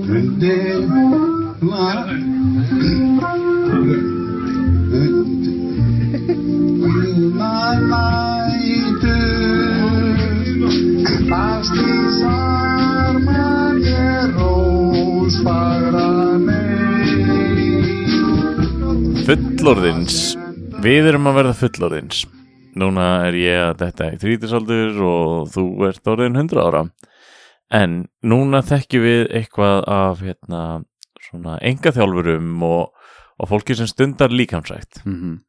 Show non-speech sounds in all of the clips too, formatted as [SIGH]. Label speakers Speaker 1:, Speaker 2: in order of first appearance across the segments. Speaker 1: Önde var.
Speaker 2: Fullorðins Við erum að verða fullorðins Núna er ég að þetta er þrítisaldur og þú ert orðin 100 ára En núna þekkjum við eitthvað af hérna, svona engaþjálfurum og, og fólki sem stundar líkamsrækt
Speaker 3: Mhm.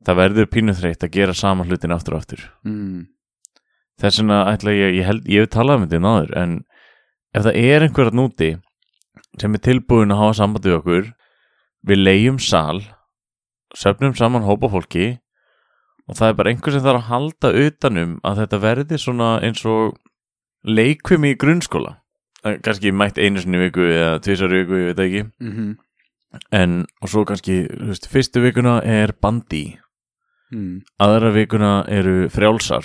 Speaker 2: Það verður pínuþreytt að gera sama hlutin aftur og aftur
Speaker 3: Mm.
Speaker 2: Þess vegna ætla ég, ég held, ég hef talað um þetta náður en ef það er einhverjart núti sem er tilbúin að hafa samband við okkur við leigjum sal söfnum saman hópa fólki og það er bara einhver sem þarf að halda utanum að þetta verði svona eins og leikvimi í grunnskóla Eh, kannski mætt einu sinni í viku eða tvisar viku, ég veit það ekki
Speaker 3: Mhm.
Speaker 2: en, og svo kannski, þú veist, fyrstu vikuna er bandi mhm,
Speaker 3: Mm.
Speaker 2: aðra vikuna eru frjálsar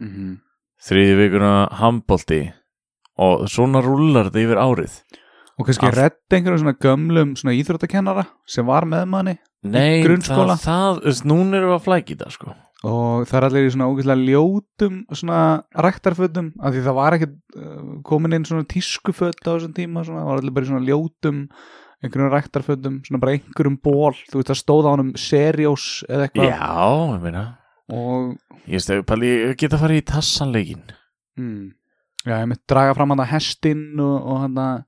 Speaker 3: Mhm.
Speaker 2: þriði vikuna handbólti og svona rúlar þetta yfir árið
Speaker 3: Og kannski
Speaker 2: Allt.
Speaker 3: redd einhverjum svona gömlum svona íþróttakennara sem var með manni
Speaker 2: Nei,
Speaker 3: grunnskóla?
Speaker 2: það, það, þú veist, núna erum við að flækja þetta sko
Speaker 3: og það er allir í svona ógeðslega ljótum svona ræktarfötum af því það var ekki uh, komin inn svona tískuföt á þessum tíma svona, það var allir bara í svona ljótum einhverjum ræktarfötum, svona bara einhverjum ból þú veist það stóð á honum seriós eða eitthvað
Speaker 2: Já, ég meina
Speaker 3: og
Speaker 2: Ég veist, ef Palli, ég geta að fara í tassanleikin
Speaker 3: mm, já, ég mitt draga fram hann að hestinn og, og hann að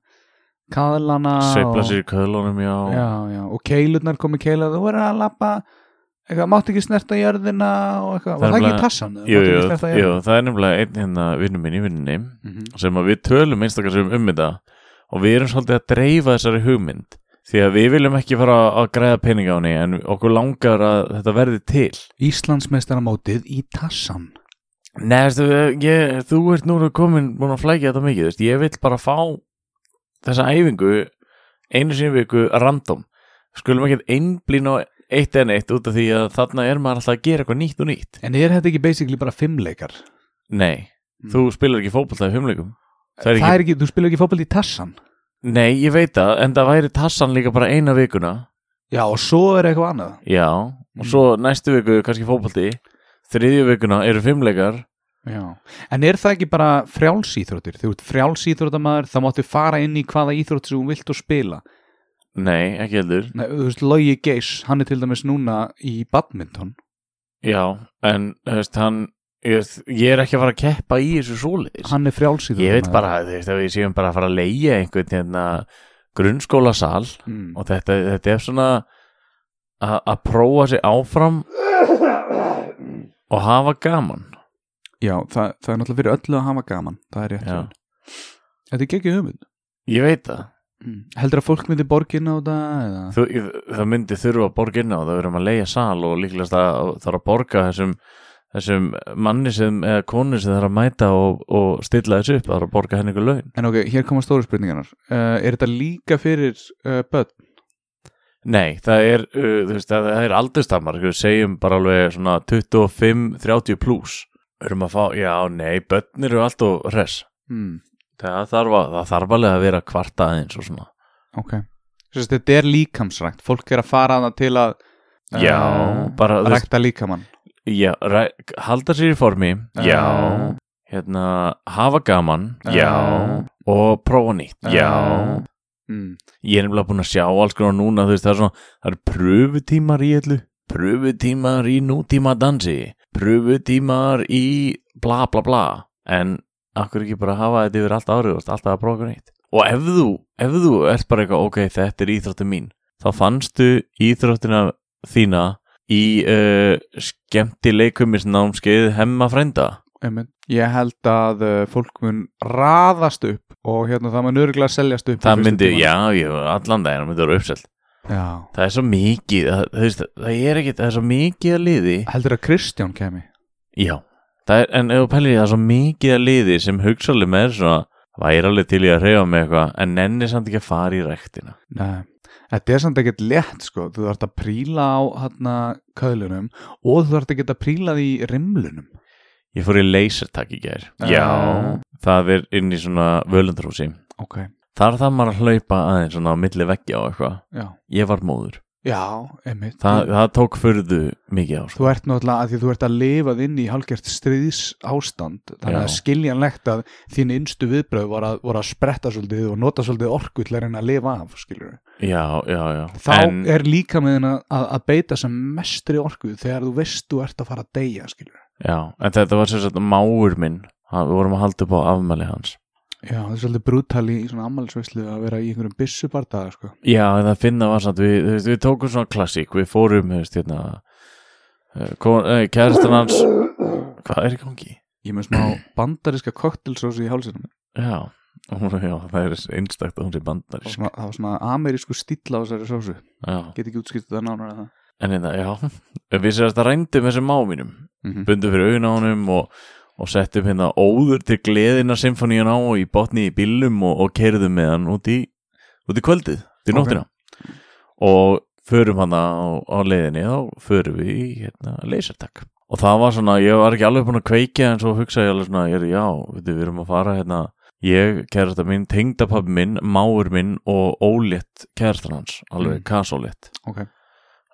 Speaker 3: kaðlana
Speaker 2: Sveifla
Speaker 3: og,
Speaker 2: sér í köðlunum, já,
Speaker 3: já, já, og keilurnar komi keila þú verður að lappa eitthvað, mátt ekki snerta jörðina og
Speaker 2: Það
Speaker 3: eitthvað,
Speaker 2: er
Speaker 3: var það ekki
Speaker 2: bara-
Speaker 3: í tassan?
Speaker 2: Jú, jú, jú, það er nefnilega einn hérna vinnum minn í vinninni
Speaker 3: Mm
Speaker 2: sem að við tölum einstakar sem um þetta og við erum svolítið að dreifa þessari hugmynd því að við viljum ekki fara að græða peninga á henni en okkur langar að þetta verði til
Speaker 3: Íslandsmeistaramótið í Tassan
Speaker 2: Nei, veistu, ég, þú ert núna komin búin að flækja þetta mikið, veist, ég vil bara fá þessa æfingu einu sinni í viku random skulum ekki einblín á eitt en eitt út af því að þarna er maður alltaf að gera eitthvað nýtt og nýtt.
Speaker 3: En er þetta ekki basically bara fimmleikar?
Speaker 2: Nei,
Speaker 3: Mm.
Speaker 2: þú spilar ekki fótbolta í humleikum.
Speaker 3: Það er ekki, þú spilur ekki fótbolt í Tassan
Speaker 2: Nei, ég veit það, en það væri tassan líka bara eina vikuna,
Speaker 3: Já, og svo er eitthvað annað
Speaker 2: já,
Speaker 3: Mm.
Speaker 2: og svo næstu viku kannski fótbolti, þriðju vikuna eru fimmleikar,
Speaker 3: Já. En er það ekki bara frjálsýþróttir? Þú ert frjálsýþróttamaður, þá máttu fara inn í hvaða íþrótt sem þú vilt og spila
Speaker 2: nei, ekki heldur,
Speaker 3: Nei, þú veist, Logi Geis, hann er til dæmis núna í badminton
Speaker 2: já, en, þú veist, hann, ég, veist, ég er ekki að fara að keppa í þessu svoleiðis.
Speaker 3: Hann er frjálsýþróttamaður
Speaker 2: Ég veit bara, þú veist, ef við séum bara að fara að leigja einhvern hérna grunnskólasal
Speaker 3: mm.
Speaker 2: og þetta, þetta er svona a- að prófa sig áfram og hafa gaman.
Speaker 3: Já, það, það er náttúrulega fyrir öllu að hafa gaman Það er rétt
Speaker 2: Já.
Speaker 3: hjá þér. Þetta er gekkið hugmynd
Speaker 2: Ég veit það.
Speaker 3: mm. Heldur að fólk myndi borgin á það? Eða?
Speaker 2: Þú, það myndi þurfa að borga inn á það, við erum að leigja sal og líklegast að þarf að borga þessum, þessum manni sem, eða konu sem þarf að mæta og, og stilla þessu upp, þarf að borga henni ykkur laun.
Speaker 3: En ok, hér koma stóru spurningarnar. Uh, er þetta líka fyrir uh, börn?
Speaker 2: Nei, það er, uh, þú veist, það, það er aldurstamar, við segjum bara alveg svona 25-30 pluss. Við erum að fá, já, nei, börn eru allt og res.
Speaker 3: Mm.
Speaker 2: Það þarf, að, það þarf alveg að vera kvarta aðeins og svona.
Speaker 3: Ok. Sjöst, þetta er líkamsrækt. Fólk er að fara að það til að uh,
Speaker 2: Já, bara, þú veist,
Speaker 3: rækta líkamann.
Speaker 2: já, ræ, halda sér í formi, já,
Speaker 3: Já.
Speaker 2: hérna, hafa gaman,
Speaker 3: Eh, Já.
Speaker 2: og prófa nýtt, já.
Speaker 3: eh. Mm.
Speaker 2: Ég er nefnilega búin að sjá alls konar núna, þú veist, það er svona, það eru pröfutímar í öllu, pröfutímar í nútíma dansi, pröfutímar í bla bla bla, en akkur ekki bara hafa þetta yfir allt árið, þú veist, alltaf að prófa eitthvað nýtt. Og ef þú, ef þú ert bara eitthvað, ok, þetta er íþróttin mín, þá fannstu íþróttina þína í uh, skemmtileikumisnámskeið hemma frænda.
Speaker 3: Einmitt. Ég held að uh, fólk mun raðast upp og hérna það mun örgulega seljast upp. í
Speaker 2: Það
Speaker 3: fyrstu
Speaker 2: myndi,
Speaker 3: tímanum.
Speaker 2: já, ég, allan daginn myndi vera uppselt.
Speaker 3: Já.
Speaker 2: Það er svo mikið, það, þú veist, það er ekki, það er svo mikið að liði
Speaker 3: Heldur að Kristján kemi?
Speaker 2: Já, það er, en ef þú pælir í það er svo mikið að liði sem hugsalega með svona væri alveg til í að reyfa með eitthvað en nenni samt ekki að fara í rektina
Speaker 3: Nei. Þetta er samt ekkert létt sko. Þú þarf að príla á hérna köðlunum og þú þarf að geta prílað í rimlunum.
Speaker 2: Ég fór í lasertak í gær
Speaker 3: Já.
Speaker 2: Það er inn í svona völundarhúsi
Speaker 3: Ok.
Speaker 2: Þar þarf maður að hlaupa aðeins svona á milli veggja og eitthvað
Speaker 3: já,
Speaker 2: Ég var móður
Speaker 3: já, einmitt
Speaker 2: Þa, það tók furðu mikið á sko.
Speaker 3: þú ert náttúrulega að því þú ert að lifað inn í halgjart stríðs ástand þannig að
Speaker 2: Já.
Speaker 3: skiljanlegt að þín innstu viðbröð voru að, voru að spretta svolítið og nota svolítið orku til að reyna að lifa af skilur
Speaker 2: Já, já, já
Speaker 3: þá
Speaker 2: en,
Speaker 3: er líka með henn að, að beita sem mestri orku þegar þú veist þú ert að fara að deyja skilur
Speaker 2: já, en þetta var sem sagt máur minn hann, Við vorum að halda upp á afmæli hans
Speaker 3: já, það er svolítið brútal í svona ammælisveislu að vera í einhverjum byssubardaða sko
Speaker 2: Já, en það finna var samt Við, þú veist, við tókum svona klassík Við fórum, þú veist, hérna eh, kon- eh, Kærastan hans Hvað er í gangi?
Speaker 3: ég er
Speaker 2: [CLEARS THROAT]
Speaker 3: með smá bandariska koktelsósu í hálsinum
Speaker 2: Já, hún, já það er einstakta hún sé bandar
Speaker 3: það var svona, það var svona amerísku stíll á þessari sósu
Speaker 2: Já,
Speaker 3: get ekki útskýrt þetta nánar en það
Speaker 2: en hérna, já Við sér að það rændum þessum má mínum
Speaker 3: Mhm.
Speaker 2: bundu fyrir augun á honum og, og settum hérna óður til gleðina symfoníun á og í botni í bílum og, og kerðum með hann út í, út í kvöldið til
Speaker 3: Ok.
Speaker 2: nóttina og förum hann á, á leiðinni þá förum við í hérna, leysertak og það var svona, ég var ekki alveg búin að kveikja en svo hugsaði ég alveg svona, ég er já veitu, við erum að fara hérna ég, kærasta mín, tengdapappi minn, máur minn og ólétt kærastan hans alveg
Speaker 3: Mm.
Speaker 2: kasólétt
Speaker 3: ok,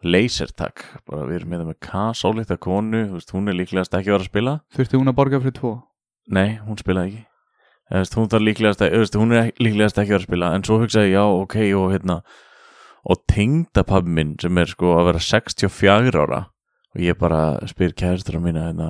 Speaker 2: leysertak, bara við erum hérna með það með kasólétta konu, þú veist, hún er líklegast ekki að vera að spila
Speaker 3: þurfti hún að borga fyrir tvo
Speaker 2: Nei, hún spilaði ekki Eða, veist, hún, þarf líklegast að, eða, veist, hún er líklegast ekki að vera að spila En svo hugsaði ég, já, ok Og, hérna, og tengdapabbi minn Sem er sko að vera 64 ára Og ég bara spyr kæristur á mína hérna,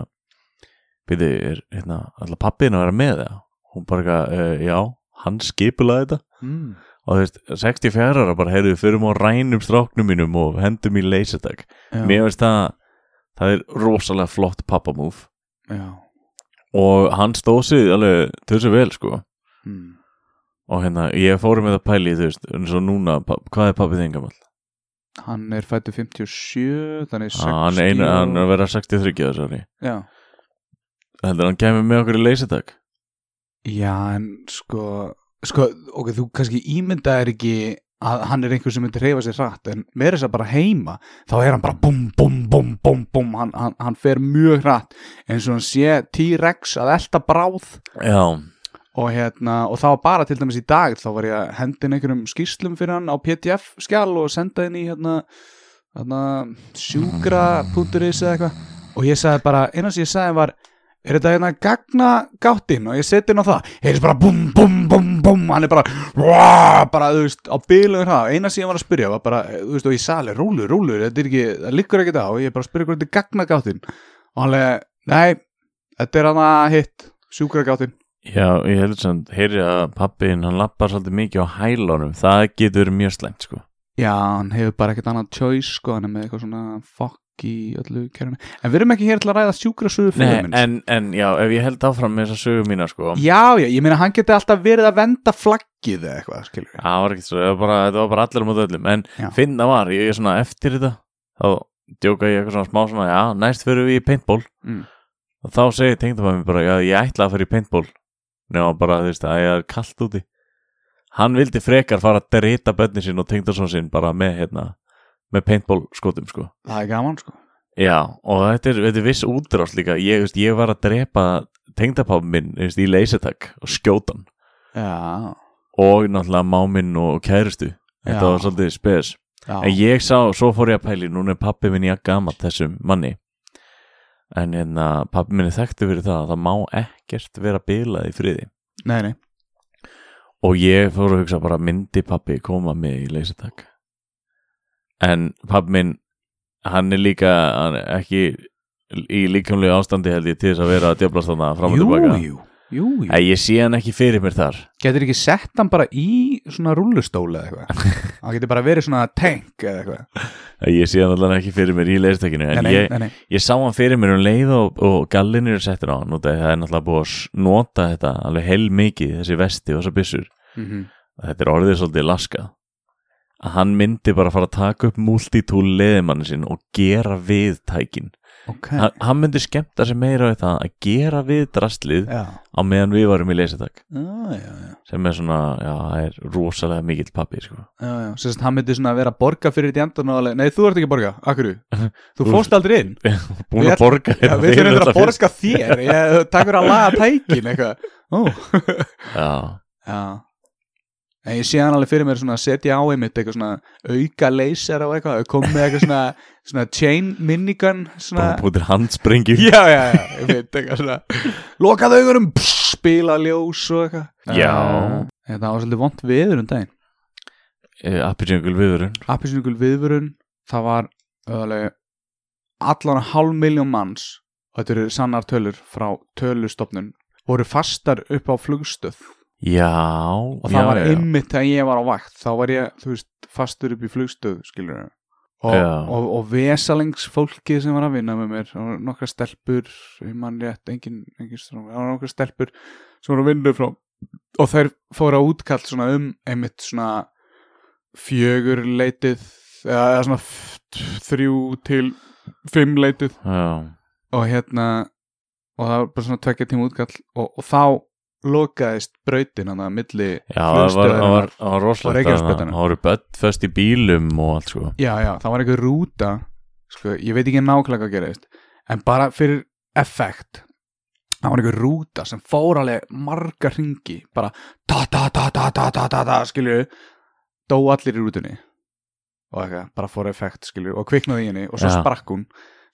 Speaker 2: Býðu, er hérna, alltaf pappiðin að vera með það Hún bara, eitthvað, uh, já, hann skipulaði þetta
Speaker 3: mm.
Speaker 2: Og þú veist, 64 ára bara heyrðu Förum á rænum stráknum mínum Og hendum í leyserdag Mér veist það, það er rosalega flott pappamúf
Speaker 3: já,
Speaker 2: og hann stóð sig alveg þessu vel sko
Speaker 3: mm.
Speaker 2: og hérna ég fórum með það pæli þú veist eins og núna pa- hvað er pappið þinn gammal
Speaker 3: hann er fættu 57 þannig 60
Speaker 2: Ah, hann, er einu- hann er að vera 63 ára sorry
Speaker 3: já.
Speaker 2: heldur hann kemur með okkur í leysitak
Speaker 3: já, en sko sko, ok, þú kannski ímyndaðir ekki að hann er einhver sem myndi reyfa sér rætt en meira þess að bara heima þá er hann bara bum, bum, bum, bum, bum hann, hann, hann fer mjög rætt eins og hann sé T-Rex að elta bráð
Speaker 2: já
Speaker 3: og hérna, og það var bara til dæmis í dag þá var ég að hendin einhverjum skýrslum fyrir hann á pdf skjál og senda henni í hérna, hérna sjúkra.is eða eitthvað og ég sagði bara, eina sem ég sagði var er þetta hérna gagna gáttinn og ég seti hann á það, heyrðis bara bum bum bum bum, hann er bara rá, bara, þú veist, á bílum það, eina sem ég var að spyrja var bara, þú veist, og ég sagði alveg rúlu, rúlu, þetta er ekki, það liggur ekki það og ég bara spyrja hvernig þetta er gagna gáttinn og hann lega, nei, þetta er hann hitt, sjúkra gáttinn
Speaker 2: já ég heldur sem heyri að pappiðinn hann lappar svolítið mikið á hælunum það getur verið mjög slæmt sko
Speaker 3: Já, hann hefur bara ekkert annað choice sko, hann er með eitthvað svona fuck í öllu kerfinu. En við erum ekki hér til að ræða sjúkra sögur fyrir
Speaker 2: Nei, en, en já ef ég held áfram með þessa sögu mína sko
Speaker 3: Já, já, ég meina hann geti alltaf verið að venda flaggið eða eitthvað, skilur við.
Speaker 2: Það var ekki svo, það var bara, þetta var bara allir á móti öllum En
Speaker 3: Já.
Speaker 2: finna var, ég er svona eftir þetta Þá djóka ég eitthvað svona smá svona Já, næst fyrir við í paintball
Speaker 3: Mm.
Speaker 2: Og þá segi tengdabæmi mér bara, já, ég ætla að fara í paintball Nefna bara, þú veist, að ég er kallt úti Hann vildi frekar fara að drita bönni sín og tengdasón sín bara með, hérna Með paintball skotum, sko
Speaker 3: Það er gaman, sko.
Speaker 2: Já, og þetta er, þetta er viss útrás líka Ég, þú veist, ég var að drepa tengdapámi minn, þú veist, í leysetak Og skjóta hann
Speaker 3: Já,
Speaker 2: og náttúrulega máminn og kærustu þetta
Speaker 3: Já.
Speaker 2: var svolítið spes
Speaker 3: já.
Speaker 2: en ég sá, svo fór ég að pæli núna er pappi minn ég að gama þessum manni en hérna pappi minn er þekktu fyrir það að það má ekkert vera bilað í friði
Speaker 3: Nei, nei.
Speaker 2: og ég fór að hugsa bara myndi pappi koma með í leysatak en pappi minn hann er líka hann er ekki í líkamlegu ástandi held ég til þess að vera að djöflast þarna fram og
Speaker 3: Jú,
Speaker 2: tilbaka
Speaker 3: jú, jú, jú.
Speaker 2: en ég sé hann ekki fyrir mér þar
Speaker 3: Getur ekki sett hann bara í svona rullustóla
Speaker 2: [LAUGHS]
Speaker 3: eða eitthvað. hann getur bara verið svona tank eða eitthvað.
Speaker 2: ég sé hann allan ekki fyrir mér í leysatakinu en
Speaker 3: nei, nei,
Speaker 2: ég,
Speaker 3: nei, nei.
Speaker 2: Ég sá hann fyrir mér um leið og, og gallin eru settir á hann og það er náttúrulega búið að s- nota þetta alveg heil mikið þessi vesti og þessar byssur
Speaker 3: Mm
Speaker 2: þetta er orðið svolítið laska að hann myndi bara fara að taka upp multitool leðimannin sinn og gera við tækin
Speaker 3: Ok.
Speaker 2: hann, hann myndi skemmta sig meira við það að gera við drastlið
Speaker 3: Já.
Speaker 2: á meðan við varum í leysatak
Speaker 3: Já, já, já.
Speaker 2: sem er svona, já, það er rosalega mikill pappi sko.
Speaker 3: Já, já, sérst hann myndi svona vera að borga fyrir þetta í endan og alveg, nei þú ert ekki að borga, akkur þú
Speaker 2: [LAUGHS] Þú-
Speaker 3: fórst aldrei inn
Speaker 2: búin
Speaker 3: Við-
Speaker 2: að borga
Speaker 3: Já,
Speaker 2: hérna
Speaker 3: við
Speaker 2: fyrir
Speaker 3: þurfum að
Speaker 2: þetta fyrst.
Speaker 3: borga þér ég, Takk fyrir að laga tækin eitthvað Ó,
Speaker 2: Já,
Speaker 3: já, En ég sé hann alveg fyrir mér svona að setja á einmitt eitthvað svona auka laser á eitthvað, komið með eitthvað svona, svona chain minigun svona,
Speaker 2: bara búið til handsprengi
Speaker 3: já, já, já, ég veit eitthvað svona lokað augunum, pss, spila ljós og eitthvað
Speaker 2: Já.
Speaker 3: Eh, Þetta var svolítið vont viður um daginn
Speaker 2: yeah. appijungul viðurinn
Speaker 3: Appisningul viðvörun, það var öðalega allan hálf miljón manns og þetta eru sannar tölur frá tölustofnun voru fastar upp á flugstöð
Speaker 2: já,
Speaker 3: og það
Speaker 2: já,
Speaker 3: var
Speaker 2: já, já.
Speaker 3: einmitt þegar ég var á vakt þá var ég, þú veist, fastur upp í flugstöð skilur ég og,
Speaker 2: Já.
Speaker 3: og, og vesalings fólkið sem var að vinna með mér það voru nokkra stelpur ég man rétt, engin, engin strömmar það voru nokkra stelpur sem voru að vinna frá og þær fóru á útkall svona um einmitt svona fjögur leitið eða eða svona f- þrjú til fimm leitið
Speaker 2: Já.
Speaker 3: og hérna og það var bara svona tvekja tíma útkall og, og þá lokaðist brautin hann að milli
Speaker 2: Já, það var, það var,
Speaker 3: flugstöðarinnar.
Speaker 2: það var
Speaker 3: og
Speaker 2: rosalegt að það
Speaker 3: Reykjanesbrautina.
Speaker 2: það voru börn föst í bílum og allt sko
Speaker 3: já, já, það var eitthvað rúta sko, ég veit ekki nákvæmlega hvað gerðist en bara fyrir effekt það var eitthvað rúta sem fór alveg marga ringi bara ta ta ta ta ta ta ta ta skilju, dó allir í rútunni og eitthvað, bara fór effekt skilju, og kviknaði í henni og svo
Speaker 2: Já.
Speaker 3: sprakk hún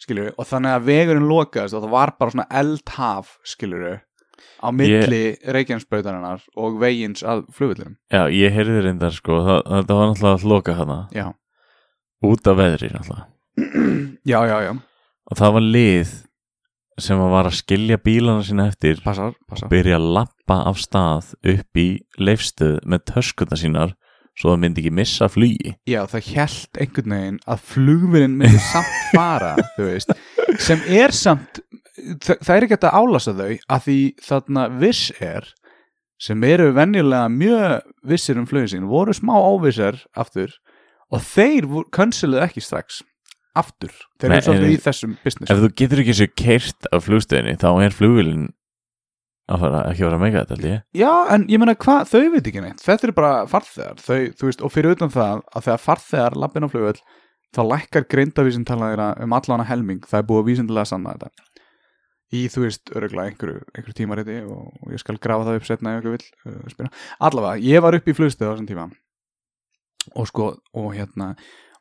Speaker 3: skilju, og þannig að vegurinn lokaðist og það var bara svona eldhaf skilju, á milli yeah. reikjansbrautarinnar og vegins að flugvillinum,
Speaker 2: Já, ég heyrði reyndar sko, það, það var náttúrulega að loka hana
Speaker 3: já
Speaker 2: út af veðri náttúrulega
Speaker 3: já, já, já,
Speaker 2: og það var lið sem að var að skilja bílana sína eftir
Speaker 3: passar, passar
Speaker 2: byrja að lappa af stað upp í leifstöð með töskuna sínar svo það myndi ekki missa flugi
Speaker 3: Já, það held einhvern veginn að flugvinin myndi
Speaker 2: [LAUGHS]
Speaker 3: samt fara, þú veist, sem er samt, það, það er ekki hægt að álasa þau að því þarna viss er, sem eru venjulega mjög vissir um flugin sín, voru smá óvissar aftur og þeir könsiluðu ekki strax, aftur, þeir
Speaker 2: Nei,
Speaker 3: eru svolítið
Speaker 2: en-
Speaker 3: í þessum business.
Speaker 2: Ef þú getur ekki sér keirt af flugstöðinni þá er flugvilin að fara, ekki að fara að meika þetta held ég
Speaker 3: Já, en ég meina hvað, þau veit ekki neitt, þetta eru bara farþegar, þau, þú veist, og fyrir utan það að þegar farþegar lappin á flugvöll, þá lækkar greindavísin talaðina um allana helming, það er búið að vísindilega að sanna þetta. Í, þú veist, öruglega einhverju, einhverju tímariti og, og ég skal grafa það upp setna ef ykkur vill uh, spyrja. Allavega, ég var upp í flugstöðu á þessum tíma og sko, og hérna,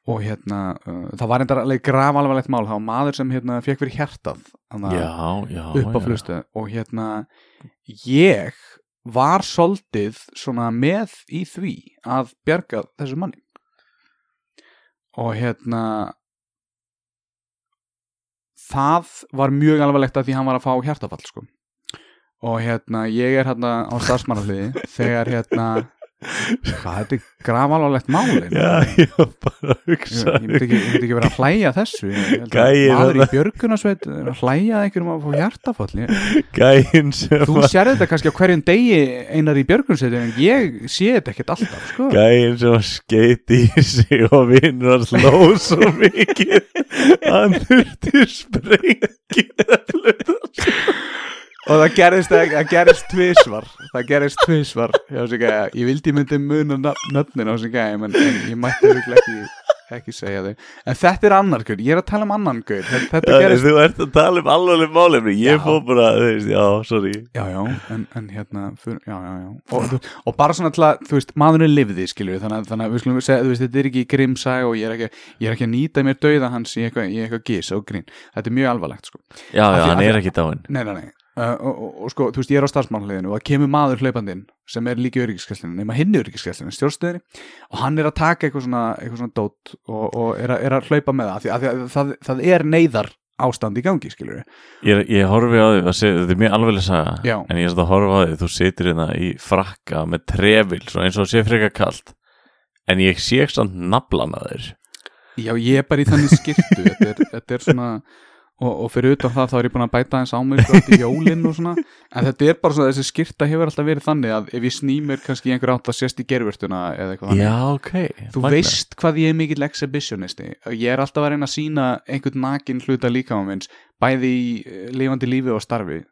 Speaker 3: og hérna, uh, það var enda alveg grafa alvarlegt mál, það var maður sem hérna fekk fyrir hjartað, þannig að
Speaker 2: Já, já,
Speaker 3: upp á
Speaker 2: já.
Speaker 3: flugstöð og hérna ég var soldið svona með í því að bjarga þessu manni og hérna það var mjög alvarlegt að því hann var að fá hjartafall sko og hérna ég er hérna á starfsmannafliði þegar hérna hvað þetta er grafalvarlegt málin
Speaker 2: Já, [LAUGHS] ég var bara að
Speaker 3: Ég,
Speaker 2: hugsa
Speaker 3: ég myndi ekki, ég myndi ekki vera að hlæja að þessu Ég held að
Speaker 2: Gæi, hérna.
Speaker 3: maður í
Speaker 2: þetta-
Speaker 3: björgunarsveit er að hlæja að einhverjum að fá hjartafall Ég-
Speaker 2: gæinn sem
Speaker 3: þú
Speaker 2: var
Speaker 3: sér þetta kannski á hverjum degi einar í björgunarsveit en ég sé þetta ekkert alltaf sko.
Speaker 2: gæinn sem var skeiti í sig og vinnur hans ló svo mikið hann þurfti sprengið
Speaker 3: og það gerist, það gerist tvisvar það gerist tvisvar ég, var svo gæja, ég vildi ég myndi muna nafn- nöfnin á þessu gæja en, en ég mætti örugglega ekki, ekki segja þau en þetta er annar gaur, ég er að tala um annan gaur þetta, þetta
Speaker 2: Já,
Speaker 3: gerist
Speaker 2: þú ert að tala um alveg málefni
Speaker 3: Já.
Speaker 2: Ég fór bara, þú veist, já, sorry
Speaker 3: Já, já, en, en hérna fyr, já, já, já. Og, þú- og bara svona til að þú veist, maðurinn lifði, skilur við þannig, að- þannig að við skulum segja, þú veist, þetta er ekki grimsæ og ég er ekki, ég er ekki að nýta mér dauða hans í eitthvað, í eitthvað gís og grín þetta er mjög alvarlegt, sko
Speaker 2: Já,
Speaker 3: Af
Speaker 2: já,
Speaker 3: því-
Speaker 2: hann
Speaker 3: af
Speaker 2: er ekki dáinn
Speaker 3: Nei, nei, nei, uh, og, og, og sko, þú veist, ég er á starfsmannhliðinu og það kemur maður hlaupandinn sem er líka öryggiskesslinu, nema hinn öryggiskesslinu, stjórnstöðinu og hann er að taka eitthvað svona, eitthvað svona dót og, og er, að, er að hlaupa með það, af því, af því að það, það er neyðar ástand í gangi, skilur
Speaker 2: Ég, er- ég horfi á því, það sé, þetta er mjög alveglega saga
Speaker 3: Já.
Speaker 2: En ég er samt að horfa á því, þú situr hérna í frakka með trefil Svo eins og það sé frekar kalt En ég sé ekki samt naflan að þér
Speaker 3: Já, ég er bara í þannig skirtu þetta, er, þetta er svona og, og fyrir utan það þá er ég búin að bæta eins á mig sko, eftir jólinn og svona en þetta er bara svona þessi skirta hefur alltaf verið þannig að ef ég sný mér kannski í einhver átt að sést í gerfurtuna eða eitthvað þannig.
Speaker 2: Já, ok
Speaker 3: Þú
Speaker 2: magnað.
Speaker 3: veist hvað ég er mikill exhibitionisti ég er alltaf að reyna að sína einhvern nakin hluta líkamamins bæði í eh, lifandi lífi og starfi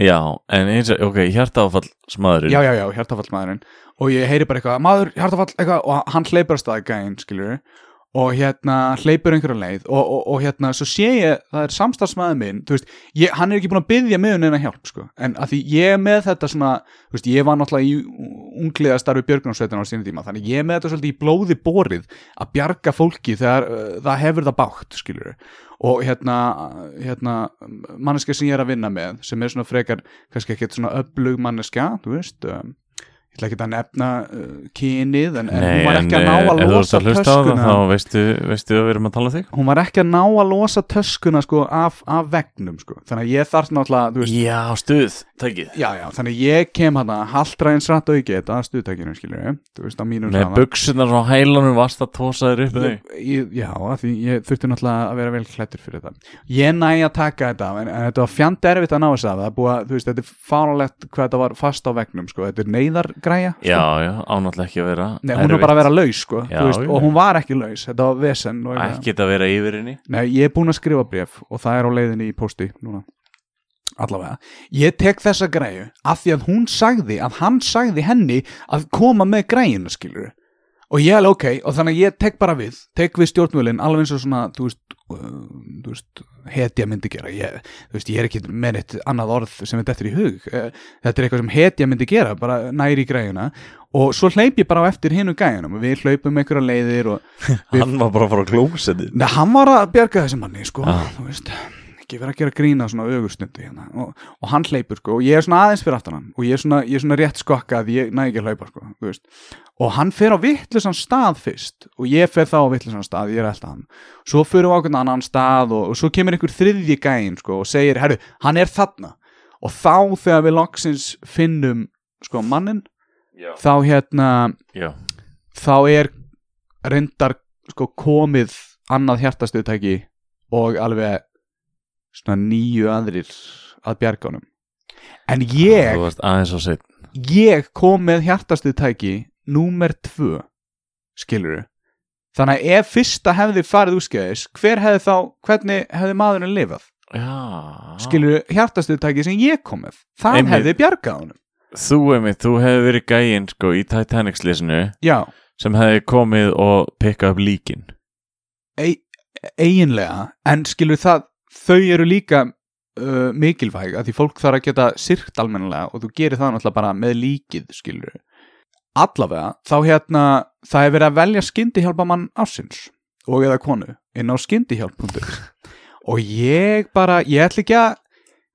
Speaker 2: Já, en eins og, ok, hjartaáfall smaðurinn
Speaker 3: já, já, já, hjartafallmaðurinn og ég heyri bara eitthvað, maður, hjartafall, eitthvað og hann hleypur að staði gæinn, skiljur og hérna hleypur einhverja leið og, og, og hérna svo sé ég það er samstarfsmaður minn þú veist, ég, hann er ekki búin að byggja mig um neina hjálp sko. en að því ég er með þetta svona þú veist, ég var náttúrulega í ungliða starfi björgunarsveitin á sínum tíma þannig ég er með þetta svolítið í blóði borið að bjarga fólki þegar uh, það hefur það bátt skilur og hérna, hérna manneska sem ég er að vinna með sem er svona frekar kannski ekkert svona öflug manneska þú veist um, ég ætla ekki að nefna uh, kynið en, en hún var ekki að ná
Speaker 2: eh, ef
Speaker 3: að
Speaker 2: þú ert
Speaker 3: losa
Speaker 2: að hlusta á það,
Speaker 3: töskuna
Speaker 2: þá veistu, veistu að við erum að tala um þig?
Speaker 3: hún var ekki að ná að losa töskuna sko, af, af vegnum sko. þannig að ég þarf náttúrulega þú veist,
Speaker 2: Já, stuð, tækið.
Speaker 3: já, já, þannig að ég kem hann að haldra eins rætt og ekki þetta að stuðtækinu skilur ég, þú veist á mínum
Speaker 2: Með buksunar á hælunum varst að tósa þér upp í þau.
Speaker 3: Ég, já, af því ég þurfti náttúrulega að vera vel klættur fyrir það. Ég næ að taka þetta af, en, en þetta var fjand erfitt að ná þess að það er búið að, þú veist, þetta er fáralegt hvað þetta var fast á vegnum, sko, þetta er neyðargræja sko.
Speaker 2: Já, já, ánáttlega ekki að vera.
Speaker 3: Nei, hún er bara að vera laus, sko,
Speaker 2: Já,
Speaker 3: þú veist,
Speaker 2: já.
Speaker 3: og hún var ekki laus, þetta var vesen og eitthvað.
Speaker 2: Ekki að vera yfir henni.
Speaker 3: Nei, ég er búin að skrifa bref og það er á leiðinni í pósti núna. Allavega. Ég tek þessa græju af því að hún sagði, að hann sagði henni að koma með græjuna, skilur. Og ég alveg ok, og þannig að ég tek bara við, tek við stjórnvölinn, alveg eins og svona, þú veist, uh, þú veist, hetja myndi gera. Ég, þú veist, ég er ekki með eitt annað orð sem er dettur í hug. Eh, Þetta er eitthvað sem hetja myndi gera, bara næri í græjuna. Og svo hleyp ég bara á eftir hinu gæjunum. Við hlaupum einhverja leiðir og
Speaker 2: Hann var bara að fara að klósa þig.
Speaker 3: Nei, hann var að bjarga þessi manni, sko,
Speaker 2: Já.
Speaker 3: þú veist, ekki verið að gera grína svona augurstundu hérna og, og hann hleypur, sko, og ég er svona aðeins fyrir aftan hann og ég er svona, ég er svona rétt skokka að ég næ ekki að hlaupa, sko, þú veist, og hann fer á vittlusan stað fyrst og ég fer þá á vittlusan stað, ég er alltaf hann, svo fyrir á okkur annan stað og, og svo kemur einhver þriðji gæin, sko, og segir, herru, hann er þarna og þá þegar við loksins finnum, sko, mannin,
Speaker 2: Já.
Speaker 3: þá hérna,
Speaker 2: Já.
Speaker 3: þá er reyndar sko komið annað hjartastuðtæki og alveg svona nýju aðrir að bjargánum en ég,
Speaker 2: Þú varst aðeins á sitt.
Speaker 3: ég kom með hjartastuðtæki númer tvö skilur þannig að ef fyrsta hefði farið úrskæðis hver hefði þá, hvernig hefði maðurinn lifað
Speaker 2: Já.
Speaker 3: skilur hjartastuðtæki sem ég kom með það
Speaker 2: Ah. Einmitt.
Speaker 3: hefði bjargað honum
Speaker 2: Þú, Emi, þú hefði verið gæinn, sko, í Titanic-slísinu
Speaker 3: já,
Speaker 2: sem hefði komið og pikkað upp líkin.
Speaker 3: ei- eiginlega en skilur það, þau eru líka uh, mikilvæg að því fólk þarf að geta sirkt almennilega og þú gerir það náttúrulega bara með líkið skilur allavega, þá hérna það er verið að velja skyndihjálpamann ásins og eða konu inn á skyndihjálp.is og ég bara, ég ætla ekki að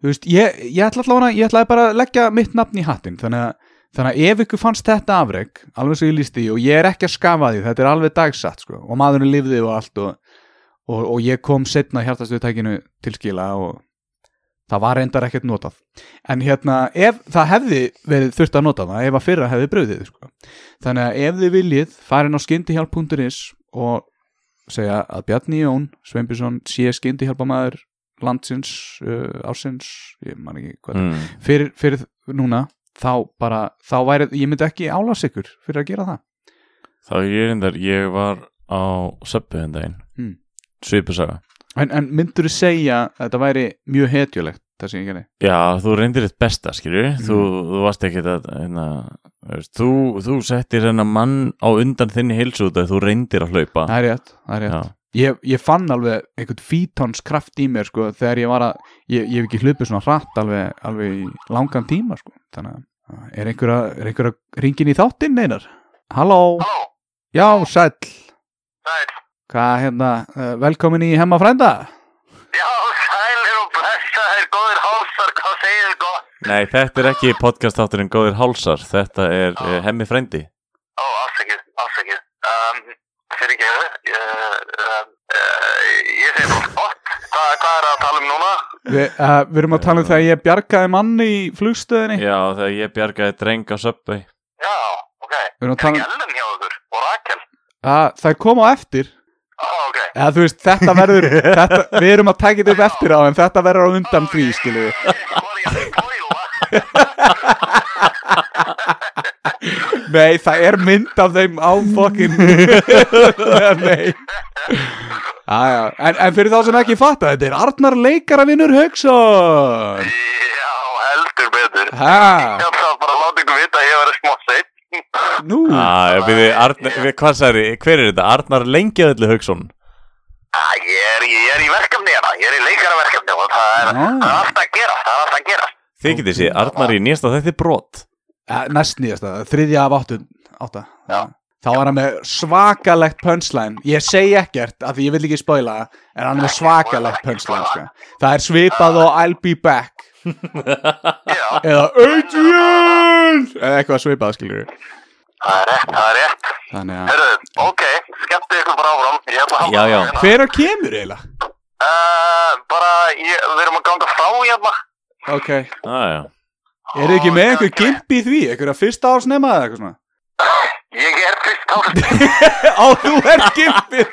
Speaker 3: þú veist, ég, ég ætla allavega ég ætlaði bara að leggja mitt nafn í hattinn þannig að, þannig að ef ykkur fannst þetta afreg alveg sem ég líst því og ég er ekki að skafa því þetta er alveg dagsatt sko og maðurinn lifði og allt og, og, og ég kom setna hjartastuðtækinu til skila og það var reyndar ekkert notað en hérna, ef það hefði verið þurft að nota það, ef að fyrra hefði bröðið sko. þannig að ef þið viljið farin á skyndihjálp.is og segja að Bjarni Jón Sveinbjörnsson sé skyndihjálpamaður landsins, uh, ársins ég man ekki hvað
Speaker 2: Mm.
Speaker 3: fyrir, fyrir núna þá bara, þá væri, ég myndi ekki álás ykkur fyrir að gera það
Speaker 2: Þá ég reyndar, ég var á söpbuðin daginn.
Speaker 3: Mm.
Speaker 2: Svipusaga.
Speaker 3: en, en myndur þú segja að þetta væri mjög hetjulegt það sem ég gerði
Speaker 2: Já, þú reyndir þitt besta, skilju þú, þú varst ekki að hérna, veist, þú, þú settir hennar mann á undan þinni heilsu út að þú reyndir að hlaupa
Speaker 3: það er rétt, það er rétt. Ég, ég fann alveg einhvern fítons kraft í mér sko þegar ég var að ég, ég hef ekki hlupið svona hratt alveg, alveg í langan tíma sko þannig að er einhver að, er einhver að ringin í þáttinn einar halló, já sæll
Speaker 4: Sæll.
Speaker 3: hvað hérna, eh, velkomin í hemma frænda
Speaker 4: Já, sælir og blessaðir, góðir hálsar, hvað segir þið gott?
Speaker 2: Nei, þetta er ekki podcastátturinn Góðir Hálsar þetta er uh, hemmi frændi
Speaker 4: Ó, afsakið, afsakið. Um, fyrir ekki, uh, um, uh, ég segi bara gott. Hva, hvað er að tala um núna?
Speaker 3: við uh, við erum að tala um þegar ég bjargaði manni í flugstöðinni
Speaker 2: Já, þegar ég bjargaði dreng á söpbu
Speaker 4: Já, ok.
Speaker 3: við erum að
Speaker 4: Er
Speaker 3: tala
Speaker 4: ekki
Speaker 3: um,
Speaker 4: Ellen hjá ykkur og Rakel?
Speaker 3: að það kom á eftir
Speaker 4: Ó, ok.
Speaker 3: eða þú veist, þetta verður þetta, við erum að taka þetta upp eftir á en þetta verður á undan því,
Speaker 4: [LAUGHS]
Speaker 3: skilju
Speaker 4: Hvað er ég að spoila?
Speaker 3: nei, það er mynd af þeim á fokkin [LAUGHS] nei Aja, en, en fyrir þá sem ekki fatta þetta er Arnar leikaravinnur Hauksson
Speaker 4: Já, heldur betur.
Speaker 3: ha,
Speaker 4: Ég ætla bara að láta ykkur vita að ég verið smá seitt.
Speaker 3: Nú,
Speaker 2: Ah, við, Arnar, við, hvað sagði, hver er þetta? Arnar Lengjaðalli Haugsson
Speaker 4: Ah, Ég er, ég er í verkefni hérna, ég er í leikaraverkefni og það er,
Speaker 3: Já.
Speaker 4: það er allt að gera, það er allt að gera.
Speaker 2: Þið getið sé, Arnar í nýjasta þetta er brot
Speaker 3: ja, næst nýjast að þriðja af áttu átta.
Speaker 4: Já.
Speaker 3: Þá var hann með svakalegt punchline. Ég segi ekkert af því ég vil ekki spoila það, en hann er með svakalegt punchline. Sko. Það er svipað og I'll be back
Speaker 4: Já,
Speaker 3: eða Adrian eða eitthvað svipað skilur við.
Speaker 4: það er rétt, það er rétt.
Speaker 3: Þannig að
Speaker 4: Hörru, ok, skemmtu ykkur bara áfram, ég ætla að halda
Speaker 2: Já, já.
Speaker 4: áfram hérna.
Speaker 3: hver er kemur eiginlega?
Speaker 4: Uh, bara, ég, við erum að ganga frá hérna.
Speaker 3: Ok, eru
Speaker 2: ah, já.
Speaker 3: þið ekki með
Speaker 4: Og-
Speaker 3: einhver gimp í því? Einhverja fyrsta árs nema eða eitthvað svona? [LAUGHS]
Speaker 4: Ég er fyrst áfram.
Speaker 3: Á, þú er gimpið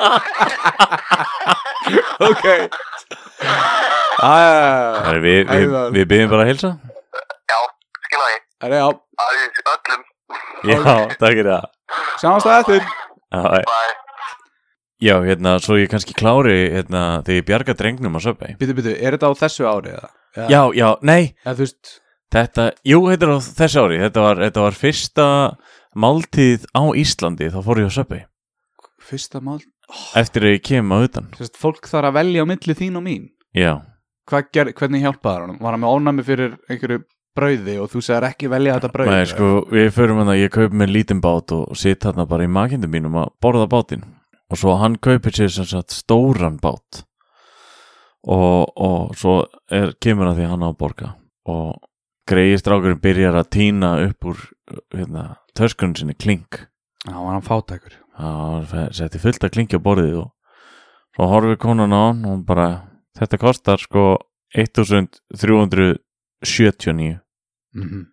Speaker 3: [LAUGHS] Ok Æ,
Speaker 2: Það er Við, við,
Speaker 3: Ævar.
Speaker 2: við byggjum bara að heilsa
Speaker 4: já, skilaði,
Speaker 3: það er já
Speaker 4: að við öllum,
Speaker 2: Já, takk er það
Speaker 3: Sjáumst að eftir
Speaker 2: Já,
Speaker 4: bæ.
Speaker 2: Já, hérna, svo ég kannski klári hérna, þegar ég bjarga drengnum á Subway
Speaker 3: Býtu, býtu, er þetta á þessu ári eða? Já.
Speaker 2: Já, já, nei,
Speaker 3: Eða þú veist
Speaker 2: þetta, jú, þetta er á þessu ári Þetta var, þetta var fyrsta máltíð á Íslandi, þá fór ég á Subway
Speaker 3: Fyrsta mál
Speaker 2: Eftir að ég kem á utan
Speaker 3: Sérst, fólk þarf að velja á milli þín og mín
Speaker 2: Já,
Speaker 3: Hvað ger, hvernig hjálpaði hann? Var hann með ónæmi fyrir einhverju brauði og þú segir ekki velja þetta brauði?
Speaker 2: nei, sko, við förum hann ég kaup mér lítinn bát og sit hann bara í makindum mínum að borða bátinn og svo hann kaupir sér sem sagt stóran bát og, og svo er, kemur hann því hann á að borga og greiði strákurinn byrjar að týna upp úr hérna, töskunum sinni klink
Speaker 3: Já, var hann fátækur
Speaker 2: Það var- setti fullt að klingja borðið og svo horfið konan á hann og hún bara, þetta kostar sko 1379
Speaker 3: mm -hmm.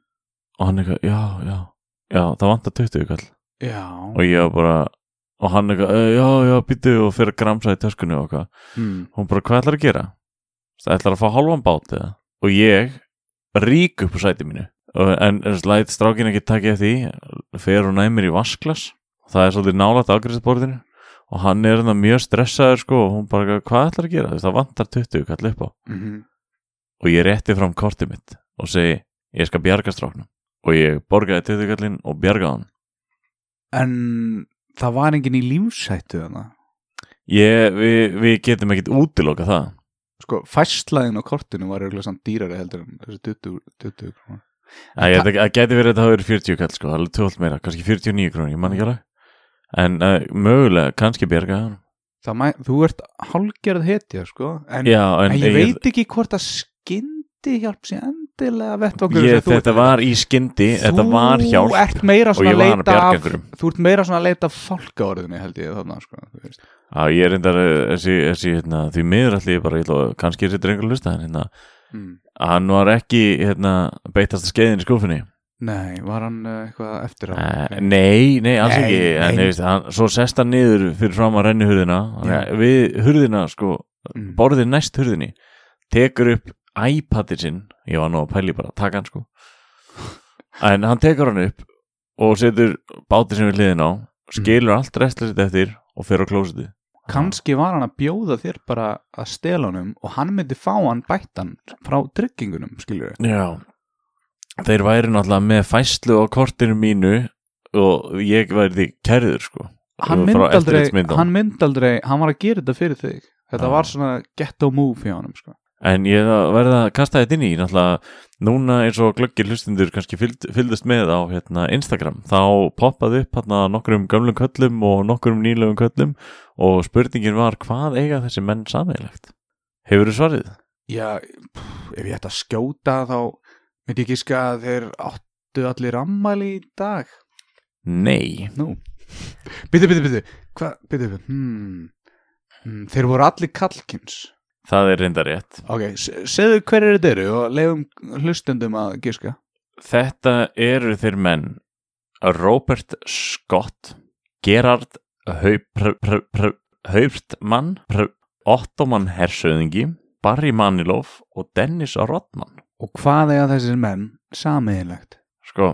Speaker 2: og hann eitthvað, já, já, já, það vantar 20 kall
Speaker 3: Já
Speaker 2: og ég var bara, og hann eitthvað, "Eh, já, já, býttu og fyrir að gramsa í töskunni og eitthvað
Speaker 3: mm.
Speaker 2: hún bara, hvað ætlar að gera? Það ætlar að fá hálfan bát eða og ég rík upp á sæti mínu Og- en en læt strákin ekki takja því fer og næmir í vasklas það er svolítið nálægt afgriðsborðinu og hann er þannig mjög stressaður sko og hún bara, hvað ætlar að gera? Þú veist, Það vantar 20 kall upp á
Speaker 3: mhm.
Speaker 2: og ég rétti fram kortið mitt og segi, ég skal bjarga stráknum og ég borgaði 20 kallinn og bjargaði hann
Speaker 3: En það var enginn í lífsættu þannig
Speaker 2: ég, við, við getum ekkit útiloka það
Speaker 3: sko, fæslaðin á kortinu var eiginlega samt dýrari heldur en þessi 20, 20 krónur.
Speaker 2: Æ, ég, það, það gæti verið að það hafi verið 40 kall sko, alveg tjóðalt meira, kannski 49 krónir, ég man ekki alveg. En uh, mögulega, kannski bjarga hann.
Speaker 3: Það mæ, þú ert hálgerð hetja, sko, en,
Speaker 2: Já, en,
Speaker 3: en ég veit ekki hvort að skyndi hjálp sér endilega vett
Speaker 2: ég,
Speaker 3: okkur sem þú
Speaker 2: þetta
Speaker 3: ert.
Speaker 2: var í skyndi, þetta var hjálp
Speaker 3: Þú ert meira
Speaker 2: og
Speaker 3: svona
Speaker 2: ég
Speaker 3: að
Speaker 2: var að
Speaker 3: leita
Speaker 2: bjarga
Speaker 3: af,
Speaker 2: einhverjum.
Speaker 3: þú ert meira svona að leita af fálkaorðinni held ég þarna, sko, þú veist.
Speaker 2: Já, ég er reyndar, eh, þessi, þessi hérna, því miður allir ég bara, ég ætla, að- kannski er þetta einhver að lusta, en hérna,
Speaker 3: Mm.
Speaker 2: hann var ekki hérna, beitast að skeiðin í skúfinni.
Speaker 3: Nei, var hann uh, eitthvað eftir á?
Speaker 2: Eh, Nei, nei, alls
Speaker 3: Nei,
Speaker 2: ekki en,
Speaker 3: nei.
Speaker 2: nei. Veist, hann, Svo sest hann niður fyrir fram að renni hurðina
Speaker 3: Já.
Speaker 2: Við hurðina, sko
Speaker 3: Mm.
Speaker 2: Borðið næst hurðinni Tekur upp iPadið sinn Ég var nú að pæli bara að taka hann, sko En hann tekur hann upp Og setur bátið sem við hliðin á Skilur allt restlið sitt eftir Og fer á klósiti
Speaker 3: Kanski var hann að bjóða þér bara að stela honum og hann myndi fá hann bættan frá tryggingunum, skilur
Speaker 2: Já Þeir væri náttúrulega með fæslu á kortinu mínu Og ég væri kærður, sko
Speaker 3: hann
Speaker 2: Frá
Speaker 3: mynd aldrei,
Speaker 2: eftirlitsmyndunum.
Speaker 3: hann mynd aldrei hann var að gera þetta fyrir þig þetta
Speaker 2: Já.
Speaker 3: var svona ghetto move hjá hann sko.
Speaker 2: En ég verði að kasta þetta inn í, náttúrulega núna eins og glöggir hlustundur kannski fylgd, fylgdust með á hérna, Instagram, þá poppaði upp hérna, nokkrum gömlum köllum og nokkrum nýlegum köllum og spurningin var hvað eiga þessi menn sameiglegt? Hefur þú svarið?
Speaker 3: já, pff, ef ég ætti að skjóta þá myndi ég gíska að þeir áttu allir ammæli í dag
Speaker 2: Nei.
Speaker 3: nú byrju, byrju, byrju, hvað, byrju, byrju hmm. Hmm, þeir voru allir kallkins
Speaker 2: Það er reynda rétt.
Speaker 3: ok, se- segðu hverju þetta eru og leiðum hlustendum að gíska
Speaker 2: Þetta eru þeir menn Robert Scott, Gerard Hauptmann, Ottoman Hersöðingi, Barry Manilow og Dennis Rodman.
Speaker 3: og hvað er að þessir menn samiðinlegt
Speaker 2: sko,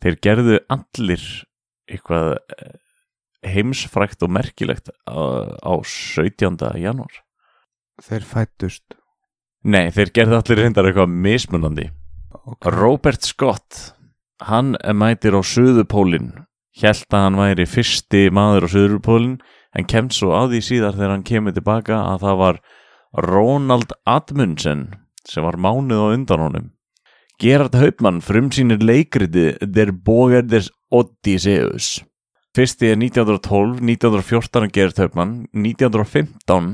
Speaker 2: þeir gerðu allir eitthvað eh, heimsfrækt og merkilegt á, á 17. janúar.
Speaker 3: þeir fættust
Speaker 2: Nei, þeir gerðu allir reyndar eitthvað mismunandi.
Speaker 3: okay.
Speaker 2: Robert Scott hann mætir á Suðupólinn held að hann væri fyrsti maður á Suðupólinn en kemst svo á því síðar þegar hann kemur tilbaka að það var Ronald Admundsen sem var mánuð á undan honum Gerard Haupmann frumsýnir leikriti Der Bogerdes Odysseus fyrsti er 1912 1914 er Gerard Haupmann 1915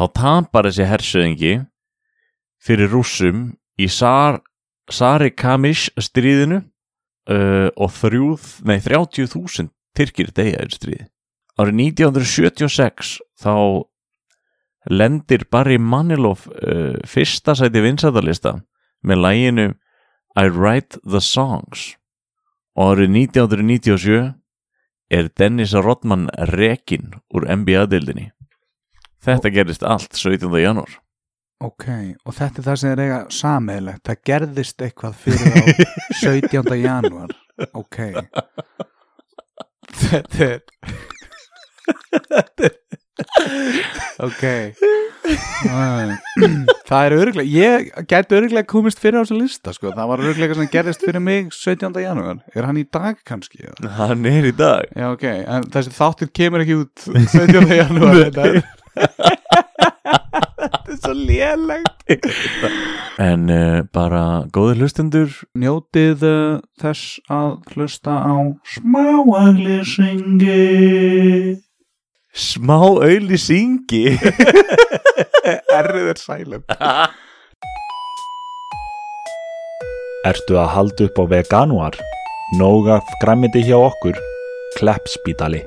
Speaker 2: þá tapar þessi hersöðingi fyrir rússum í Sar Sarikamish stríðinu uh, og þrjúð, nei, 30.000 tyrkir degja er stríði. Árið 1976 þá lendir Barry Manilow uh, fyrsta sæti vinsættarlista með læginu I Write the Songs og árið 1997 er Dennis Rodman rekin úr NBA-dildinni. Þetta gerist allt 17. janúar.
Speaker 3: Ok, og þetta er það sem er eiga sameigilegt, það gerðist eitthvað fyrir á [LAUGHS] 17. janúar Ok Þetta er Ok Æ. Það er örglega, ég gæti örglega komist fyrir á þessu lista sko, það var örglega sem gerðist fyrir mig 17. janúar, er hann í dag kannski? eða?
Speaker 2: Hann er í dag.
Speaker 3: Já ok, en þessi þáttur kemur ekki út 17. janúar Þetta er- [LAUGHS] Þetta er svo lélegt [LAUGHS]
Speaker 2: En uh, bara góðir hlustendur
Speaker 3: njótið uh, þess að hlusta á smáaglisingi
Speaker 2: Smá auðli syngi
Speaker 3: Errið er sælum
Speaker 5: Ertu að halda upp á veganuar? Nóga græmiti hjá okkur? Kleppspítali.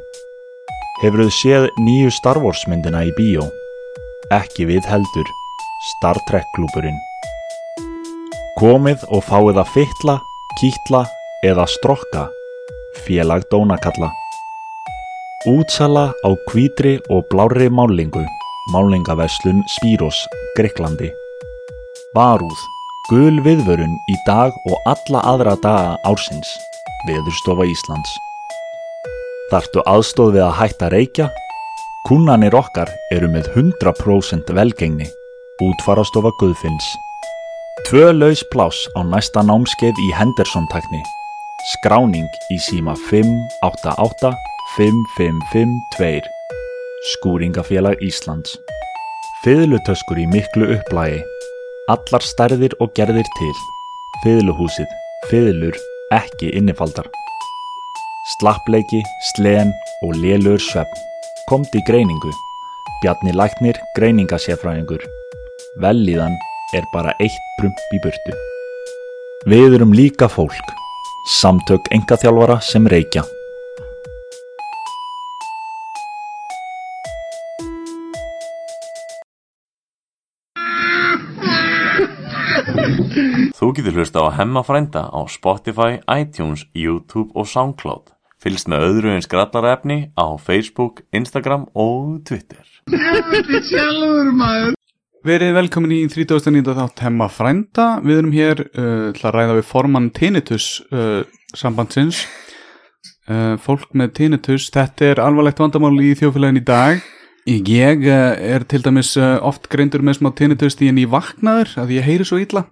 Speaker 5: Hefurðu séð nýju Star Wars myndina í bíó? Ekki við heldur. Star Trek klúburinn. Komið og fáið að fytla, kýtla eða strokka. Félag Dónakalla. Útsala á hvítri og blárri málingu. Málingaveslun Spíros, Greiklandi. Varúð. Gul viðvörun í dag og alla aðra daga ársins. Veðurstofa Íslands. Þarftu aðstóð við að hætta reykja? Kunnanir okkar eru með 100% velgengni. Útfarastofa Guðfinns. Tvö laus pláss á næsta námskeið í Henderson-takni. Skráning í síma 588 5552. Skúringafélag Íslands. Fiðlutöskur í miklu upplægi. Allar stærðir og gerðir til. Fiðluhúsið. Fiðlur ekki innifaldar. Slappleiki, sleðan og lélur svefn. Komt í greiningu. Bjarni Læknir greiningasefræðingur. Velliðan er bara eitt prump í burtu. Við erum líka fólk. Samtök engaþjálfara sem reykja.
Speaker 6: [LAUGHS] Þú getur hlusta á Hemma frænda á Spotify, iTunes, YouTube og Soundcloud. Fylgst með öðru eins grallarefni á Facebook, Instagram og Twitter.
Speaker 1: sjálfur maður
Speaker 3: Verið velkomin í 39. þátt Hemma Frænda Við erum hér uh, til að ræða við formann tinnitus uh, sambandsins uh, Fólk með tinnitus, þetta er alvarlegt vandamál í þjófélagin í dag Ég uh, er til dæmis uh, oft greindur með smá tinnitus því en ég vaknaður að ég heyri svo illa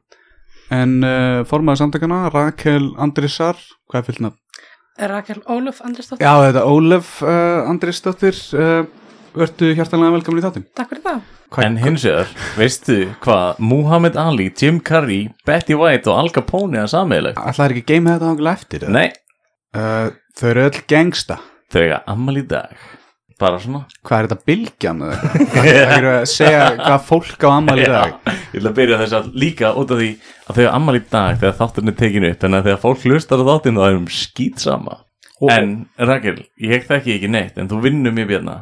Speaker 3: En uh, formaði samtakana, Rakel Andrisar, hvað er fylgna?
Speaker 7: Rakel Ólöf Andrisdóttir,
Speaker 3: Já, þetta er Ólef uh, Andrisdóttir uh, Vertu hjartalega velkomin í þáttin
Speaker 7: takk fyrir það
Speaker 3: Hvað-
Speaker 2: En hins vegar, veistu hvað Muhammad Ali, Jim Carrey, Betty White og Al Capone er sammeðilegt?
Speaker 3: Ætlaðir ekki að geima þetta ángla eftir? eða?
Speaker 2: Nei,
Speaker 3: Uh, þau eru öll gengsta
Speaker 2: þau eiga ammal í dag Bara svona
Speaker 3: Hvað er þetta bylgjan? eða
Speaker 2: [LAUGHS]
Speaker 3: eitthvað? Það það er að segja hvað fólk á ammali í dag
Speaker 2: Já, Ég ætla að byrja þess að líka út af því að þau eiga ammal í dag þegar þátturinn er tekinu upp en að þegar fólk hlustar á þáttinn þá erum skýt sama En Rakel, ég þekki ekki neitt en þú vinnur mér björna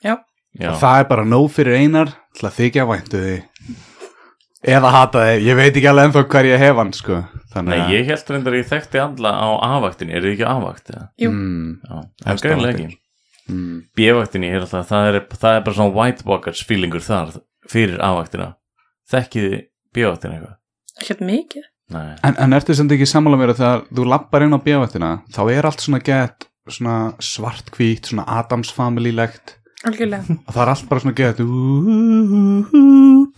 Speaker 7: Já.
Speaker 2: Já,
Speaker 3: Það er bara nóg fyrir einar til að þykja væntu því Eða hata þið, ég veit ekki alveg ennþá hver ég hef hann sko
Speaker 2: Nei,
Speaker 3: Þannig að
Speaker 2: ég held reyndar að ég þekkti alla á afvaktin, eru þið ekki á afvakt? eða?
Speaker 7: Jú,
Speaker 3: mm,
Speaker 2: Já, en
Speaker 3: Efst á
Speaker 2: greinlega
Speaker 3: vaktinni.
Speaker 2: ekki B-vaktinni, ég er alltaf, það er, það er bara svona white walkers feelingur þar fyrir A-vaktina Þekkið þið B-vaktina eitthvað?
Speaker 7: ekkert mikið
Speaker 2: Nei,
Speaker 3: en, en ertu sem ekki sammála mér að þegar þú lappar inn á bjöfættina þá er allt svona gett svona svartkvít, svona Adams family-legt [LAUGHS]
Speaker 7: Algjörlega,
Speaker 3: og það er allt bara svona gett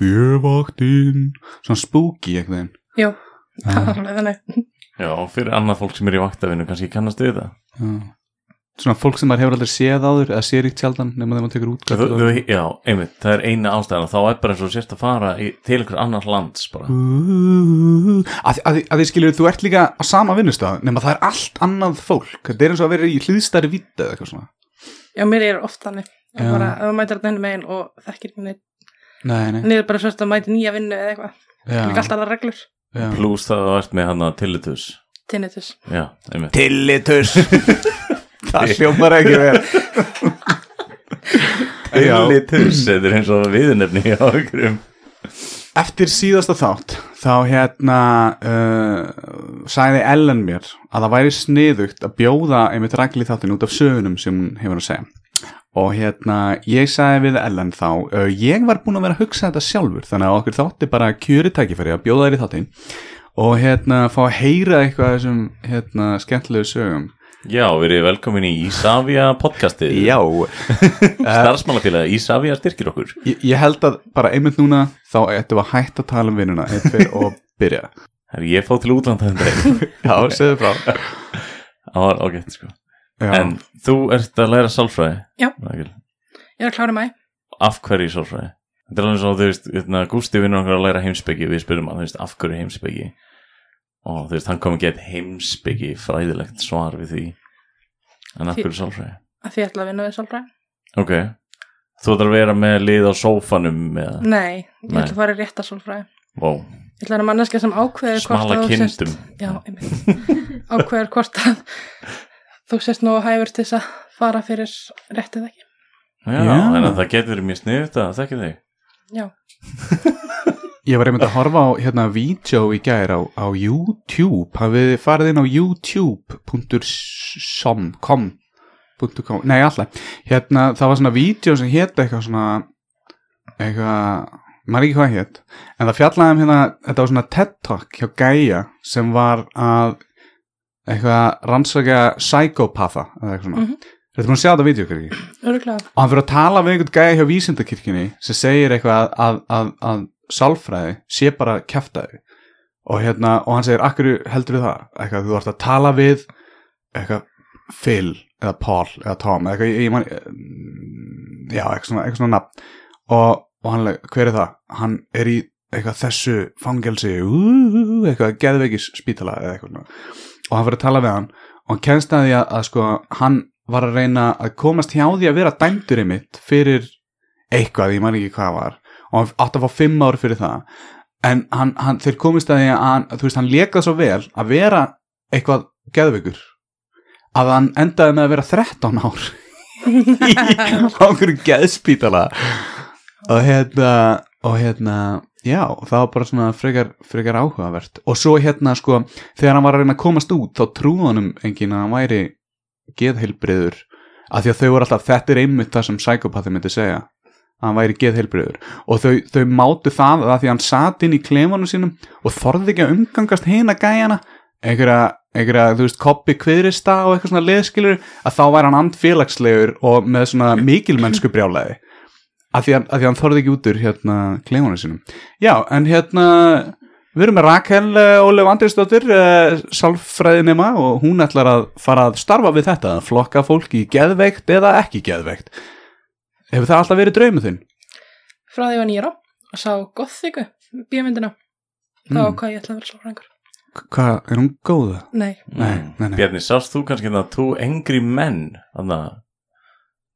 Speaker 3: bjöfættin svona spooky eitthvað
Speaker 7: jú, [LAUGHS] það var alveg þannig
Speaker 2: Já, og fyrir annað fólk sem er í vaktafinu kannski kannast við það.
Speaker 3: Já. Svona fólk sem maður hefur aldrei séð áður eða sér ítt sjaldan nema þegar maður tekur út
Speaker 2: Þú, þú, já, einmitt, það er eina ástæðan og þá er bara eins og þú sérst að fara í, til einhvers annars lands bara.
Speaker 3: að, því- að, því- að því skilur þú ert líka á sama vinnustaf nema það er allt annað fólk þetta er eins og að vera í hlýðstæri víta eða eitthvað svona
Speaker 7: Já, mér er oft þannig. Ég
Speaker 3: Já.
Speaker 7: bara, ef maður mætir þenni megin og þekkir ekki neitt.
Speaker 3: nei, nei,
Speaker 7: Niður bara svolítið að mæti nýja vinnu eða eitthvað. Líka
Speaker 3: já,
Speaker 7: alltaf aðra reglur.
Speaker 3: já.
Speaker 2: Plús það að þú ert með hann að tillitus.
Speaker 7: Tinnitus.
Speaker 2: Já, einmitt.
Speaker 3: Tillitus það hljómar ekki vel Já.
Speaker 2: Tillitus, þetta er eins og viðnefni á einhverjum.
Speaker 3: eftir síðasta þátt þá hérna uh, sagði Ellen mér að það væri sniðugt að bjóða einmitt rækli þáttin út af sögunum sem hún hefur að segja og hérna ég sagði við Ellen þá uh, ég var búin að vera að hugsa þetta sjálfur þannig að okkur þátti bara kjöri tækifæri að bjóða þér í þáttin og hérna fá að heyra eitthvað af þessum hérna skemmtilegu sögum
Speaker 2: Já, við erum velkomin í Ísafja podcastið. [LAUGHS] Eh. Starfsmálafélag Ísafja styrkir okkur.
Speaker 3: ég, ég held að bara einmitt núna þá ættum við að hætta að tala um vinnuna einn fyrir og byrja
Speaker 2: Herri, Ég fóð til útlanda þetta daginn.
Speaker 3: já, segðu frá
Speaker 2: Það var ágætt, sko.
Speaker 3: já.
Speaker 2: En þú ert að læra sálfræði?
Speaker 7: Já.
Speaker 2: Ragil.
Speaker 7: Ég er að klára í mæ.
Speaker 2: Af hverju sálfræði? Þetta er alveg svo, þú veist, hérna, Gústi vinnur okkur að læra heimsbyggi og við spyrum hann, þú veist, af hverju heimsbyggi? Og þú veist, hann kom ekki eitt heimsbyggi fræðilegt svar við því. En af
Speaker 7: Því-
Speaker 2: hverju sálfræði?
Speaker 7: Að því ég ætla að vinna við sálfræði.
Speaker 2: Ok. Þú ætlar að vera með lið á sófanum með,
Speaker 7: Nei, ég
Speaker 2: Nei.
Speaker 7: ætla að fara í rétta sálfræði.
Speaker 2: vó,
Speaker 7: Ég ætla að vera manneska sem ákveður Eh, hvort
Speaker 2: smala
Speaker 7: að þú sést
Speaker 2: kindum.
Speaker 7: já, einmitt ákveður hvort að þú sést nógu hæfur til þess að fara fyrir réttið ekki
Speaker 2: Já,
Speaker 3: Já.
Speaker 2: þannig að það getur verið mjög sniðut að þekki þig.
Speaker 3: Ég var einmitt að horfa á hérna vídeo í gær á, á YouTube hafið þið farið inn á youtube.com .com, nei alltaf hérna það var svona vídeo sem hétt eitthvað svona eitthvað maður ekki hvað hétt en það fjallaði um hérna þetta var svona TED Talk hjá Gaia sem var að eitthvað rannsaka psychopatha eða eitthvað svona mm
Speaker 7: Mhm.
Speaker 3: Þetta er búin að sjá þetta vídeo ykkur ekki?
Speaker 7: öruglega,
Speaker 3: og hann fyrir að tala við einhvern gæði hjá vísindakirkjunni sem segir eitthvað að, að, að, að sálfræði sé bara kæftæði og, hérna, og hann segir, akkur heldur það eitthvað, þú ert að tala við eitthvað Phil eða Paul eða Tom eða eitthvað, ég man mm, já, eitthvað svona, eitthvað svona nafn og, og hann, leg- hver er það? hann er í eitthvað þessu fangelsi úúú, eitthvað geðveikis spítala eða eitthvað svona. og hann fyrir að tala við hann og hann kennst að því að, að sko, hann var að reyna að komast hjá því að vera dæmdur einmitt fyrir eitthvað, ég man ekki hvað það var og hann átti að fá fimm ár fyrir það en hann, hann, þeir komist að því að hann, þú veist, hann lekað svo vel að vera eitthvað geðveikur að hann endaði með að vera 13 ár [LAUGHS] í okkur geðspítala og hérna og hérna, já, það var bara svona frekar, frekar áhugavert og svo hérna sko, þegar hann var að reyna að komast út þá trúði hann um engin að hann væri geðheilbriður af því að þau voru alltaf, þetta er einmitt það sem psykopati myndi segja að hann væri geðheilbriður og þau, þau mátu það að því að hann sat inn í klefanum sínum og þorði ekki að umgangast hina gæjana einhverja, einhverja þú veist, koppi kviðrista og eitthvað svona leðskilur að þá væri hann andfélagslegur og með svona mikilmennsku brjálæði af því, að, af því að hann þorði ekki út úr hérna klefanum sínum já, en hérna Við erum með Rakel eh, Ólef Andrisdóttir, eh, sálfræðinema og hún ætlar að fara að starfa við þetta, að flokka fólk í geðveikt eða ekki geðveikt. Hefur það alltaf verið draumið þinn?
Speaker 7: frá því ég var nýra og sá gothiku, bíómyndina þá
Speaker 3: Mm.
Speaker 7: mm. hvað ég ætla að vera sálfræðingur
Speaker 3: K- Hvað, er hún góða?
Speaker 7: nei,
Speaker 3: Nei, nei, nei.
Speaker 2: Mm. Bjarni, sást þú kannski þannig að þú engri menn þannig að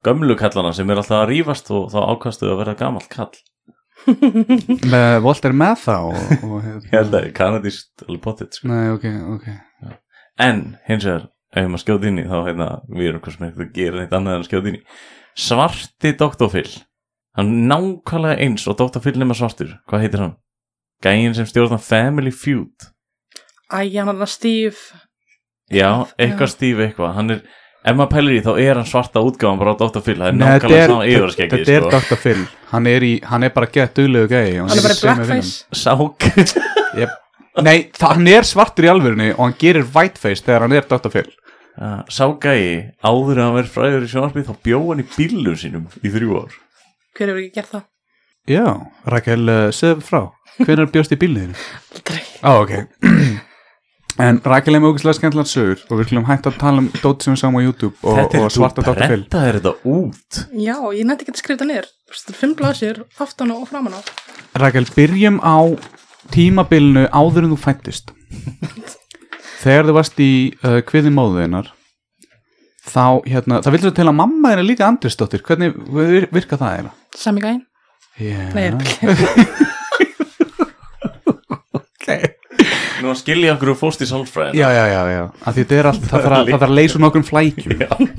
Speaker 2: gömlu kallana sem er alltaf að rífast og þá ákastu að vera gamall kall
Speaker 3: Með Volter með þá og, [LAUGHS] og hérna.
Speaker 2: ég held að kanadíst alveg potið sko.
Speaker 3: Nei, ok, ok.
Speaker 2: en hins vegar, ef maður skjóði inn í þá hérna, við erum hvað sem eitthvað að gera neitt annað en að skjóði inn í svarti doktorfill hann er nákvæmlega eins og doktorfill nema svartur, hvað heitir hann? gæin sem stjórnar Family Feud
Speaker 7: æja hann að stíf
Speaker 2: já, eitthvað stíf eitthvað hann er, ef maður pælir í þá er hann svarta útgáðan bara á doktorfill, það er
Speaker 3: Nei, þetta
Speaker 2: nákvæmlega sko.
Speaker 3: er-
Speaker 2: saman yfirskeggi
Speaker 3: Þetta er Dr. Phil, hann er, í, hann er bara gett duðlegu gæi. og
Speaker 7: hann er bara í
Speaker 3: í sömu
Speaker 7: blackface
Speaker 2: sák [LAUGHS]
Speaker 3: vinum. Jep. Nei, það- hann er svartur í alvörunni og hann gerir whiteface þegar hann er Dr. Phil.
Speaker 2: Uh, sá gæi áður en hann verið fræður í sjónarpið þá bjó hann í bílum sínum í þrjú ár
Speaker 7: hver hefur ekki gert það?
Speaker 3: Já, eh, Rakel, uh, segðu frá. Hvernig bjóst í bílniðinu?
Speaker 7: Aldrei.
Speaker 3: Á, ok [CLEARS THROAT] En Rakel er með ógæslega skemmtilega sögur og við skulum hægt að tala um dót sem við sáum á YouTube og, og svarta
Speaker 2: þú
Speaker 3: Dr. Phil
Speaker 2: prentaðir þetta út
Speaker 7: Já, ég nætti ekki að skrifa þetta niður. Þetta er fimm blaðsir, aftan á og framan á.
Speaker 3: Rakel, byrjum á tímabilinu áður en þú [LAUGHS] fættist Þegar þú varst í uh, kviði móðuðinnar þá, hérna, það vildur til að mamma þeirra líka Andrisdóttir, hvernig vir- virka það þeirra?
Speaker 7: Sami gæn.
Speaker 3: Yeah.
Speaker 7: Nei, ekki.
Speaker 2: Nú að skilja okkur og fóst í sálfræðin
Speaker 3: Já, já, já, já, að því þetta er allt, það þarf að, það þarf að leysa úr nokkrum flækjum En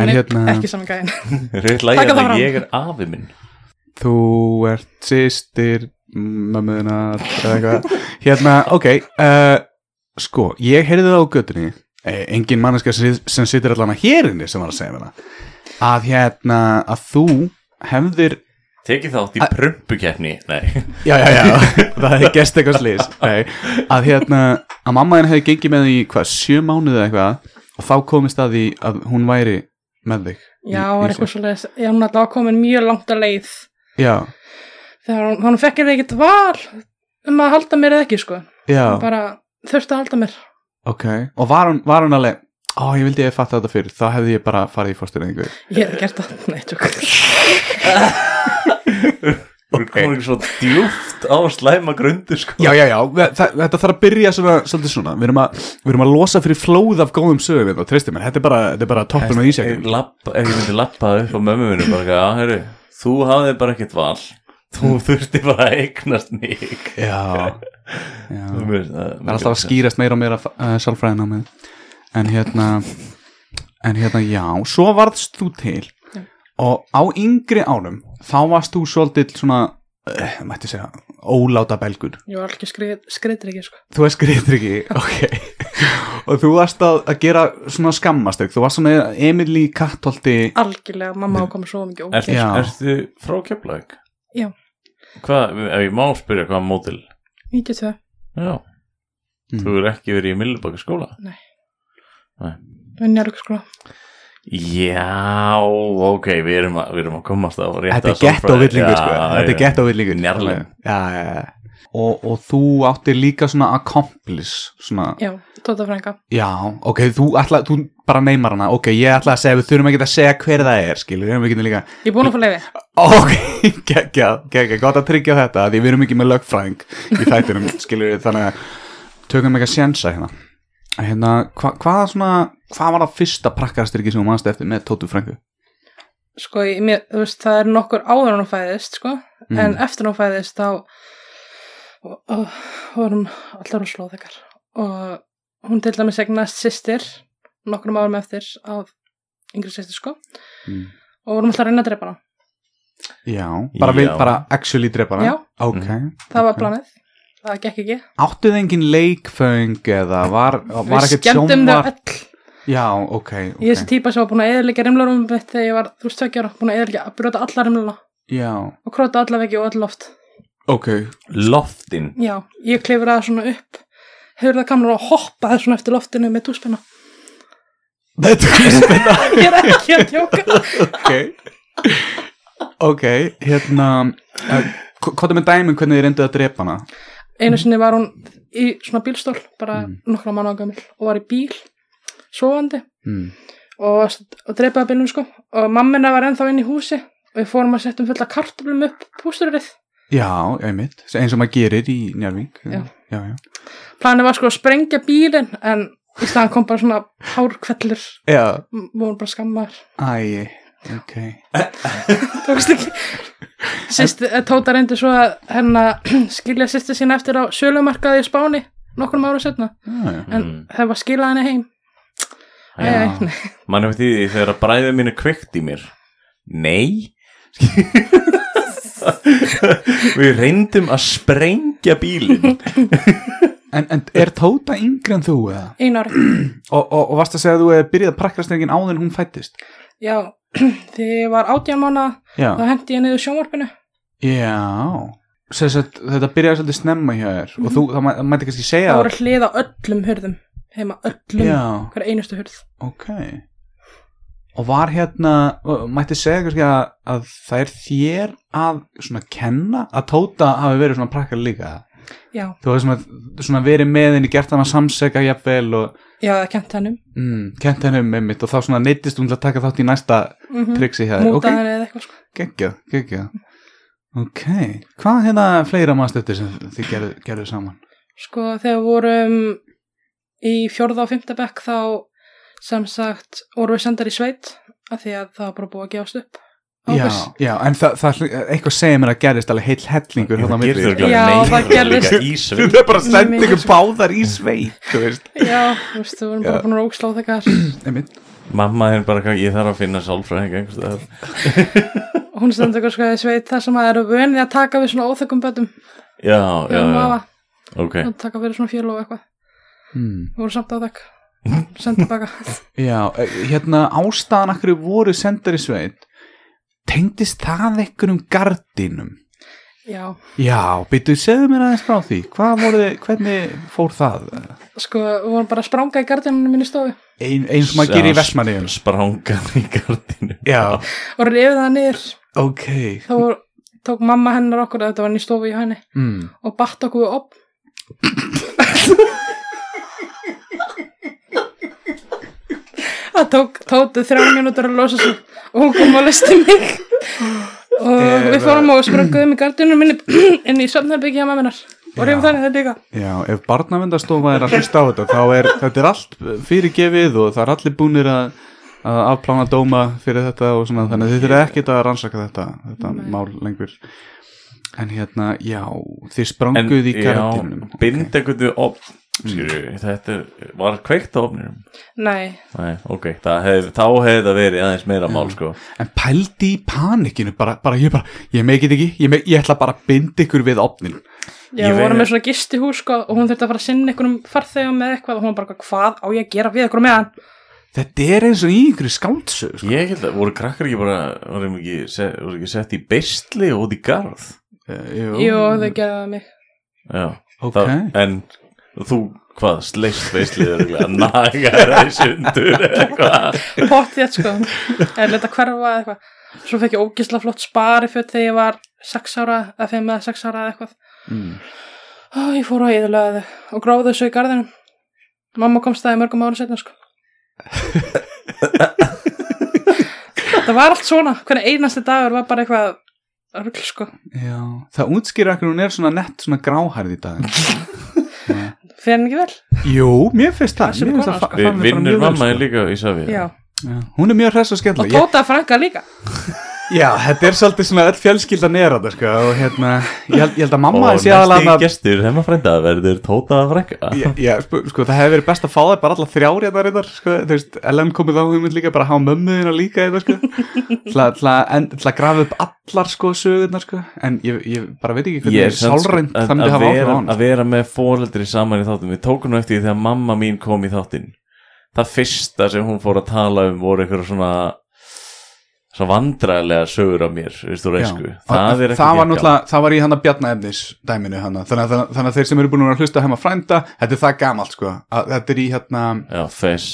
Speaker 7: Nei,
Speaker 3: hérna,
Speaker 7: Ekki sami gæn.
Speaker 2: Rétt
Speaker 7: Taka
Speaker 2: lægir að
Speaker 7: það fram.
Speaker 2: ég er afi minn
Speaker 3: þú ert sýstir mömmuðunar eða eitthvað hérna, ok uh, sko, ég heyrði það á göttunni eh, engin manneska sem situr allan að hérinni sem var að segja mér það að hérna, að þú hefðir
Speaker 2: Tekið þátt í prumpukeppni Nei,
Speaker 3: já, já, já, [LAUGHS] það hefði gest eitthvað slís Nei, að hérna, að mamma henni hefði gengið með því, hvað, sjö mánuði eða eitthvað og þá komist að því að hún væri með þig
Speaker 7: Já,
Speaker 3: Í- í
Speaker 7: var
Speaker 3: sér.
Speaker 7: eitthvað svo leiðis. Já, hún er alltaf komin mjög langt að leið.
Speaker 3: já,
Speaker 7: Þegar hún, hún fekk henni ekkert val um að halda mér eða ekki, sko.
Speaker 3: já,
Speaker 7: Hún bara þurfti að halda mér.
Speaker 3: ok og var hún, var hún alveg Ó, ég vildi ég fatta þetta fyrir, þá hefði ég bara farið í fórstureyðingu.
Speaker 7: Ég hef gert það. [LAUGHS] Nei, tjók.
Speaker 2: þú komur ekki svo djúft á slæma grundu sko
Speaker 3: Já, já, já, þa- þetta þarf að byrja svona, svolítið svona, við erum, að, við erum að losa fyrir flóð af góðum sögum við þá, treysti mér, þetta er bara, þetta er bara toppum með
Speaker 2: Ef
Speaker 3: ísjækjum
Speaker 2: lapp- ef ég myndi lappa upp á mömmu minu bara, já, heru, þú hafði bara ekkert val þú
Speaker 3: Mm.
Speaker 2: þurfti bara að eignast mig
Speaker 3: Já, já,
Speaker 2: Þú
Speaker 3: það
Speaker 2: veist, það
Speaker 3: er alltaf að skýrast meira og meira uh, sálfræðin á mig, en hérna, en hérna, já, svo varðst þú til
Speaker 7: Já.
Speaker 3: og á yngri árum, þá varst þú svolítið svona, uh, mætti segja, óláta belgur
Speaker 7: Ég var alveg skrið, skriðir ekki, sko.
Speaker 3: Þú er skriður ekki, [LAUGHS] ok Og þú varst að, að gera svona skammastök Þú varst svona Emil í kattholti
Speaker 7: Algjörlega, mamma á komið svo mikið ógeð.
Speaker 2: Ertu,
Speaker 3: Já.
Speaker 2: ertu frá Keflæk?
Speaker 7: Já.
Speaker 2: Hvað, ef ég má spyrja hvað mótil?
Speaker 7: 92.
Speaker 2: Já.
Speaker 3: Mm.
Speaker 2: Þú er ekki verið í Millibaka skóla?
Speaker 7: Vinn ég alveg, sko.
Speaker 2: Já, ok, við erum að, við erum að komast á rétta
Speaker 3: Þetta er gett á
Speaker 2: sálfræði.
Speaker 3: villingur sko
Speaker 2: Já,
Speaker 3: Þetta er
Speaker 2: já.
Speaker 3: gett á villingur
Speaker 2: Njarðleg.
Speaker 3: Já, já, já Og, og þú áttir líka svona accomplice svona,
Speaker 7: Já, Tóta frænga.
Speaker 3: já, ok, þú ætla, þú bara neymar hana, ok, ég ætla að segja, við þurfum ekki að segja hver það er, skilur, við getum líka,
Speaker 7: Ég er búin að fá leiði.
Speaker 3: ok, [LAUGHS] geggja, geggja, gott að tryggja þetta, því við erum ekki með lögfræðing í
Speaker 2: [LAUGHS]
Speaker 3: þættinum, skilur, þannig að tökum ekki að sjensa hérna. Að Hérna, hva, hvað svona, hvað var það fyrsta prakkarastyrki sem þú mannst eftir með Tótu Frængu?
Speaker 7: sko, ég, mér, þú veist, það er nokkur áður en hún fæðist, sko,
Speaker 3: Mm.
Speaker 7: en eftir hún fæðist þá og- og- vorum allar hún slóð ekkar og hún til dæmis egnast sýstir nokkrum árum eftir af yngri sýstir, sko,
Speaker 3: Mm.
Speaker 7: og vorum alltaf að reyna að drepa hana.
Speaker 3: Já, bara, við,
Speaker 2: Já. Mhm.
Speaker 3: bara actually drepa
Speaker 7: Já.
Speaker 3: hana? Ok.
Speaker 7: Það var
Speaker 3: Ok.
Speaker 7: planið, það gekk ekki.
Speaker 3: Áttuð engin leikföng eða var, var
Speaker 7: Við
Speaker 3: ekkert
Speaker 7: skemmtum þau
Speaker 3: sjónvar?
Speaker 7: öll.
Speaker 3: Já, ok, ok.
Speaker 7: Ég er þessi típa sem var búin að eðurleika rimlarum mitt þegar ég var, þú veist, tveggja ára, búin að eðurleika að brjóta alla rimlana
Speaker 3: Já,
Speaker 7: og króta alla veggi og öll loft.
Speaker 3: ok.
Speaker 2: Loftin.
Speaker 7: Já, ég klefur það svona upp, hefur það kamur og hoppaði svona eftir loftinu með túspenna.
Speaker 3: [LAUGHS] Þetta er spenna.
Speaker 7: [LAUGHS] ég er ekki að tjóka
Speaker 3: ok ok, hérna uh, hvað er með dæmin hvernig þið reynduð að drepa hana
Speaker 7: einu sinni var hún í svona bílstól bara
Speaker 3: Mm.
Speaker 7: nokkra manna gamil og var í bíl sofandi
Speaker 3: mm.
Speaker 7: og, og dreipaði bílum sko og mammina var ennþá inn í húsi og við fórum að setja um fulla kartöflum upp pústurrið
Speaker 3: já, einmitt, eins og maður gerir í njálvík
Speaker 7: Já.
Speaker 3: já, já.
Speaker 7: planið var sko að sprengja bílinn en í staðan kom bara svona hárkvellir
Speaker 3: já.
Speaker 7: og voru bara skammar
Speaker 3: Æ, ok
Speaker 7: tókst ekki Sýsti, Tóta reyndi svo að hennar [CLEARS THROAT] skilja sýsti sína eftir á sölumarkaði í Spáni nokkrum ára setna
Speaker 3: Ah, já, já.
Speaker 7: en
Speaker 2: Mm.
Speaker 7: það var skilað henni heim Æ,
Speaker 2: Já.
Speaker 7: æ, nei.
Speaker 2: Man hefði því þegar að bræðið mínu kveikt í mér. Nei. [LAUGHS] við reyndum að sprengja bílinn.
Speaker 3: En, en er Tóta yngri en þú eða?
Speaker 7: einu ári
Speaker 3: Og, og, og varst að segja að þú hefði byrjað að prakkast enginn áður en hún fættist?
Speaker 7: Já, [CLEARS THROAT] þegar ég var átján mánu
Speaker 3: Já,
Speaker 7: þá hendi ég niður sjónvarpinu
Speaker 3: já. Sess að þetta byrjaði svolítið snemma hjá þér og þú, það mæ- það mætti kannski segja
Speaker 7: Það voru hlið á öllum hurðum heima öllum,
Speaker 3: Já.
Speaker 7: hver einustu hurð
Speaker 3: Ok Og var hérna, mætti segja kannski að, að það er þér að svona kenna að Tóta hafi verið svona prakkar líka
Speaker 7: já,
Speaker 3: þú hefði svona, svona verið með henni gert hann að samseka jafnvel og
Speaker 7: já, það kent hennum
Speaker 3: mm, kent henni um einmitt og þá svona neittist hún til að taka þátt í næsta
Speaker 7: mm
Speaker 3: triksi hjá þér
Speaker 7: múta
Speaker 3: ok,
Speaker 7: henni eða eitthvað sko.
Speaker 3: geggjað, geggjað ok, hvað hérna fleira maður stöttir sem þið gerðu, gerðu saman
Speaker 7: sko þegar við vorum í fjórða og fymta bekk þá sem sagt vorum við sendar í sveit af því að það var bara búið að gefast upp
Speaker 3: já,
Speaker 7: Ágúst.
Speaker 3: já, en það, það eitthvað segir mér að gerðist alveg heill hellingur þarna á milli.
Speaker 7: Já, það gerðist.
Speaker 2: gerðist
Speaker 3: það er bara að senda
Speaker 7: Mikið.
Speaker 3: ykkur báðar í sveit þú veist,
Speaker 7: já, þú veist, við vorum bara
Speaker 3: Já.
Speaker 7: búin að róksla á þegar
Speaker 3: einmitt
Speaker 2: Mamma henn bara, ég þarf að finna sálfræðing einhvers staðar.
Speaker 7: hún stendur eitthvað sko í sveit þar sem að eru vönið að taka við svona óþökkum bötum
Speaker 2: Já,
Speaker 7: já,
Speaker 2: já,
Speaker 7: já,
Speaker 2: já, ok
Speaker 7: að taka fyrir svona fjölu og eitthvað
Speaker 3: hmm.
Speaker 7: við vorum samt á þekk sendið baka
Speaker 3: Já, eh, hérna ástæðan akkur voru sendar í sveit tengdist það einhverjum gardinum?
Speaker 7: já,
Speaker 3: Já, byrju, segðu mér aðeins frá því hvað voru þið, hvernig fór það?
Speaker 7: sko, við vorum bara að spranga í gardinunum minni stofu
Speaker 3: Ein, eins og maður gerir í
Speaker 2: Já,
Speaker 3: Vestmanniðum
Speaker 2: sp- Sprangan í gardinu
Speaker 3: Já,
Speaker 7: og rifið það niður
Speaker 3: ok
Speaker 7: þá voru, tók mamma hennar okkur þetta var ný stofu í henni
Speaker 3: mm.
Speaker 7: og batt okkur við upp það tók tótu þrjá mínútur að losa sig og hún kom og listi mig og við fórum og sprönguðum í gardinunum minni [CLEARS THROAT] inn í söfnarbyggja mamma hennar og rifið
Speaker 3: Já.
Speaker 7: það niður líka
Speaker 3: Já, ef barnavendastofa er að hlusta á þetta þá er, þetta er allt fyrirgefið og það er allir búnir að, að afplána dóma fyrir þetta og svona þannig að þið þurfið ekkert að rannsaka þetta, þetta
Speaker 7: Nei.
Speaker 3: mál lengur En hérna, já, þið spranguð í gardinum
Speaker 2: Já, bind einhvern við opn Skilju, þetta er- var kveikt á opninum
Speaker 7: nei,
Speaker 2: Nei, ok, það hef, þá hefði það verið aðeins meira mál
Speaker 3: Mm.
Speaker 2: sko
Speaker 3: En pældi í panikinu, bara, bara ég bara, ég megið ekki, ég, meg, ég ætla bara að binda ykkur við opnin.
Speaker 7: Já,
Speaker 2: Ég
Speaker 7: við vorum
Speaker 2: veit-
Speaker 7: með svona gistihús sko og hún þurfti að fara að sinna einhverjum farþegum með eitthvað og hún var bara hvað á ég að gera við ykkur með hann
Speaker 3: Þetta er eins og í einhverju skáldsög, sko.
Speaker 2: Ég held að, voru krakkar ekki bara, voru ekki, set, voru ekki sett í beistli og út í garð
Speaker 3: Uh,
Speaker 7: Jú, þau gerði mig
Speaker 2: Já,
Speaker 3: Ok.
Speaker 2: það, en þú, hvað, sleist beistlið er að naga það í sundur eða eitthvað
Speaker 7: Pott þétt sko, eða leta hverfa eða eitthvað Svo fekk ég ógisla flott spari fyrir þegar ég var 6 ára eða 5 eða 6 ára eða eitthvað
Speaker 3: Mm.
Speaker 7: Ó, Ég fór að eðurlega þau og gróðu þessu í garðinum Mamma komst það í mörgum ára
Speaker 3: [LAUGHS]
Speaker 7: setna sko Það var allt svona, hvernig einasti dagur var bara eitthvað rugl sko
Speaker 3: Já, það útskýra ekkur hún er svona nett svona gráhærð í dag.
Speaker 7: Fyrir henni ekki vel?
Speaker 3: Jú, mér finnst það.
Speaker 7: Þessi
Speaker 3: Mér finnst
Speaker 7: kona,
Speaker 3: það fa-
Speaker 7: sko.
Speaker 2: Vi,
Speaker 3: fara mér bara
Speaker 2: Vinnur
Speaker 3: mjög vel,
Speaker 2: mamma
Speaker 3: sko.
Speaker 2: er líka í safið
Speaker 7: Já
Speaker 3: Já, hún er mjög hress og
Speaker 7: Og
Speaker 3: skemmtileg. Ég-
Speaker 7: Tóta frænka líka
Speaker 3: Já, þetta er svolítið svona öll fjölskyldan er að það, sko, og hérna, ég held, ég held að mamma
Speaker 2: Og
Speaker 3: sé aðalega
Speaker 2: næsti
Speaker 3: að...
Speaker 2: gestur, hefma frænda, verður tóta að frænka
Speaker 3: Já, já, sp- sko, það hefði verið best að fá þær bara alla þrjár hérna reyndar, sko, þú veist, Ellen komið á hugmynd líka, bara hafa mömmu hérna líka hérna,
Speaker 2: [LAUGHS]
Speaker 3: sko, til að- til að en- til að grafa upp allar, sko, sögurnar, sko, en ég, ég bara veit ekki
Speaker 2: Ég er
Speaker 3: hvernig
Speaker 2: samt, sko,
Speaker 3: sálrænt
Speaker 2: að-
Speaker 3: það myndi
Speaker 2: að
Speaker 3: hafa áhrif á
Speaker 2: vera-
Speaker 3: hann.
Speaker 2: Að vera með fóreldri saman í þáttum Við tókum nú eftir því þegar mamma mín kom í þáttin Það fyrsta sem hún fór að tala um voru eitthvað svona Svo vandræðilega sögur af mér Vistu
Speaker 3: Já.
Speaker 2: reysku Það er ekki
Speaker 3: það
Speaker 2: geggjað.
Speaker 3: var náttúrulega, það var í hann að bjarnaefnis dæminu hann, þannig, að- þannig, að- þannig að þeir sem eru búin að hlusta heima frænda, þetta er það gamalt, sko, að, þetta er í hérna,
Speaker 2: Já, fess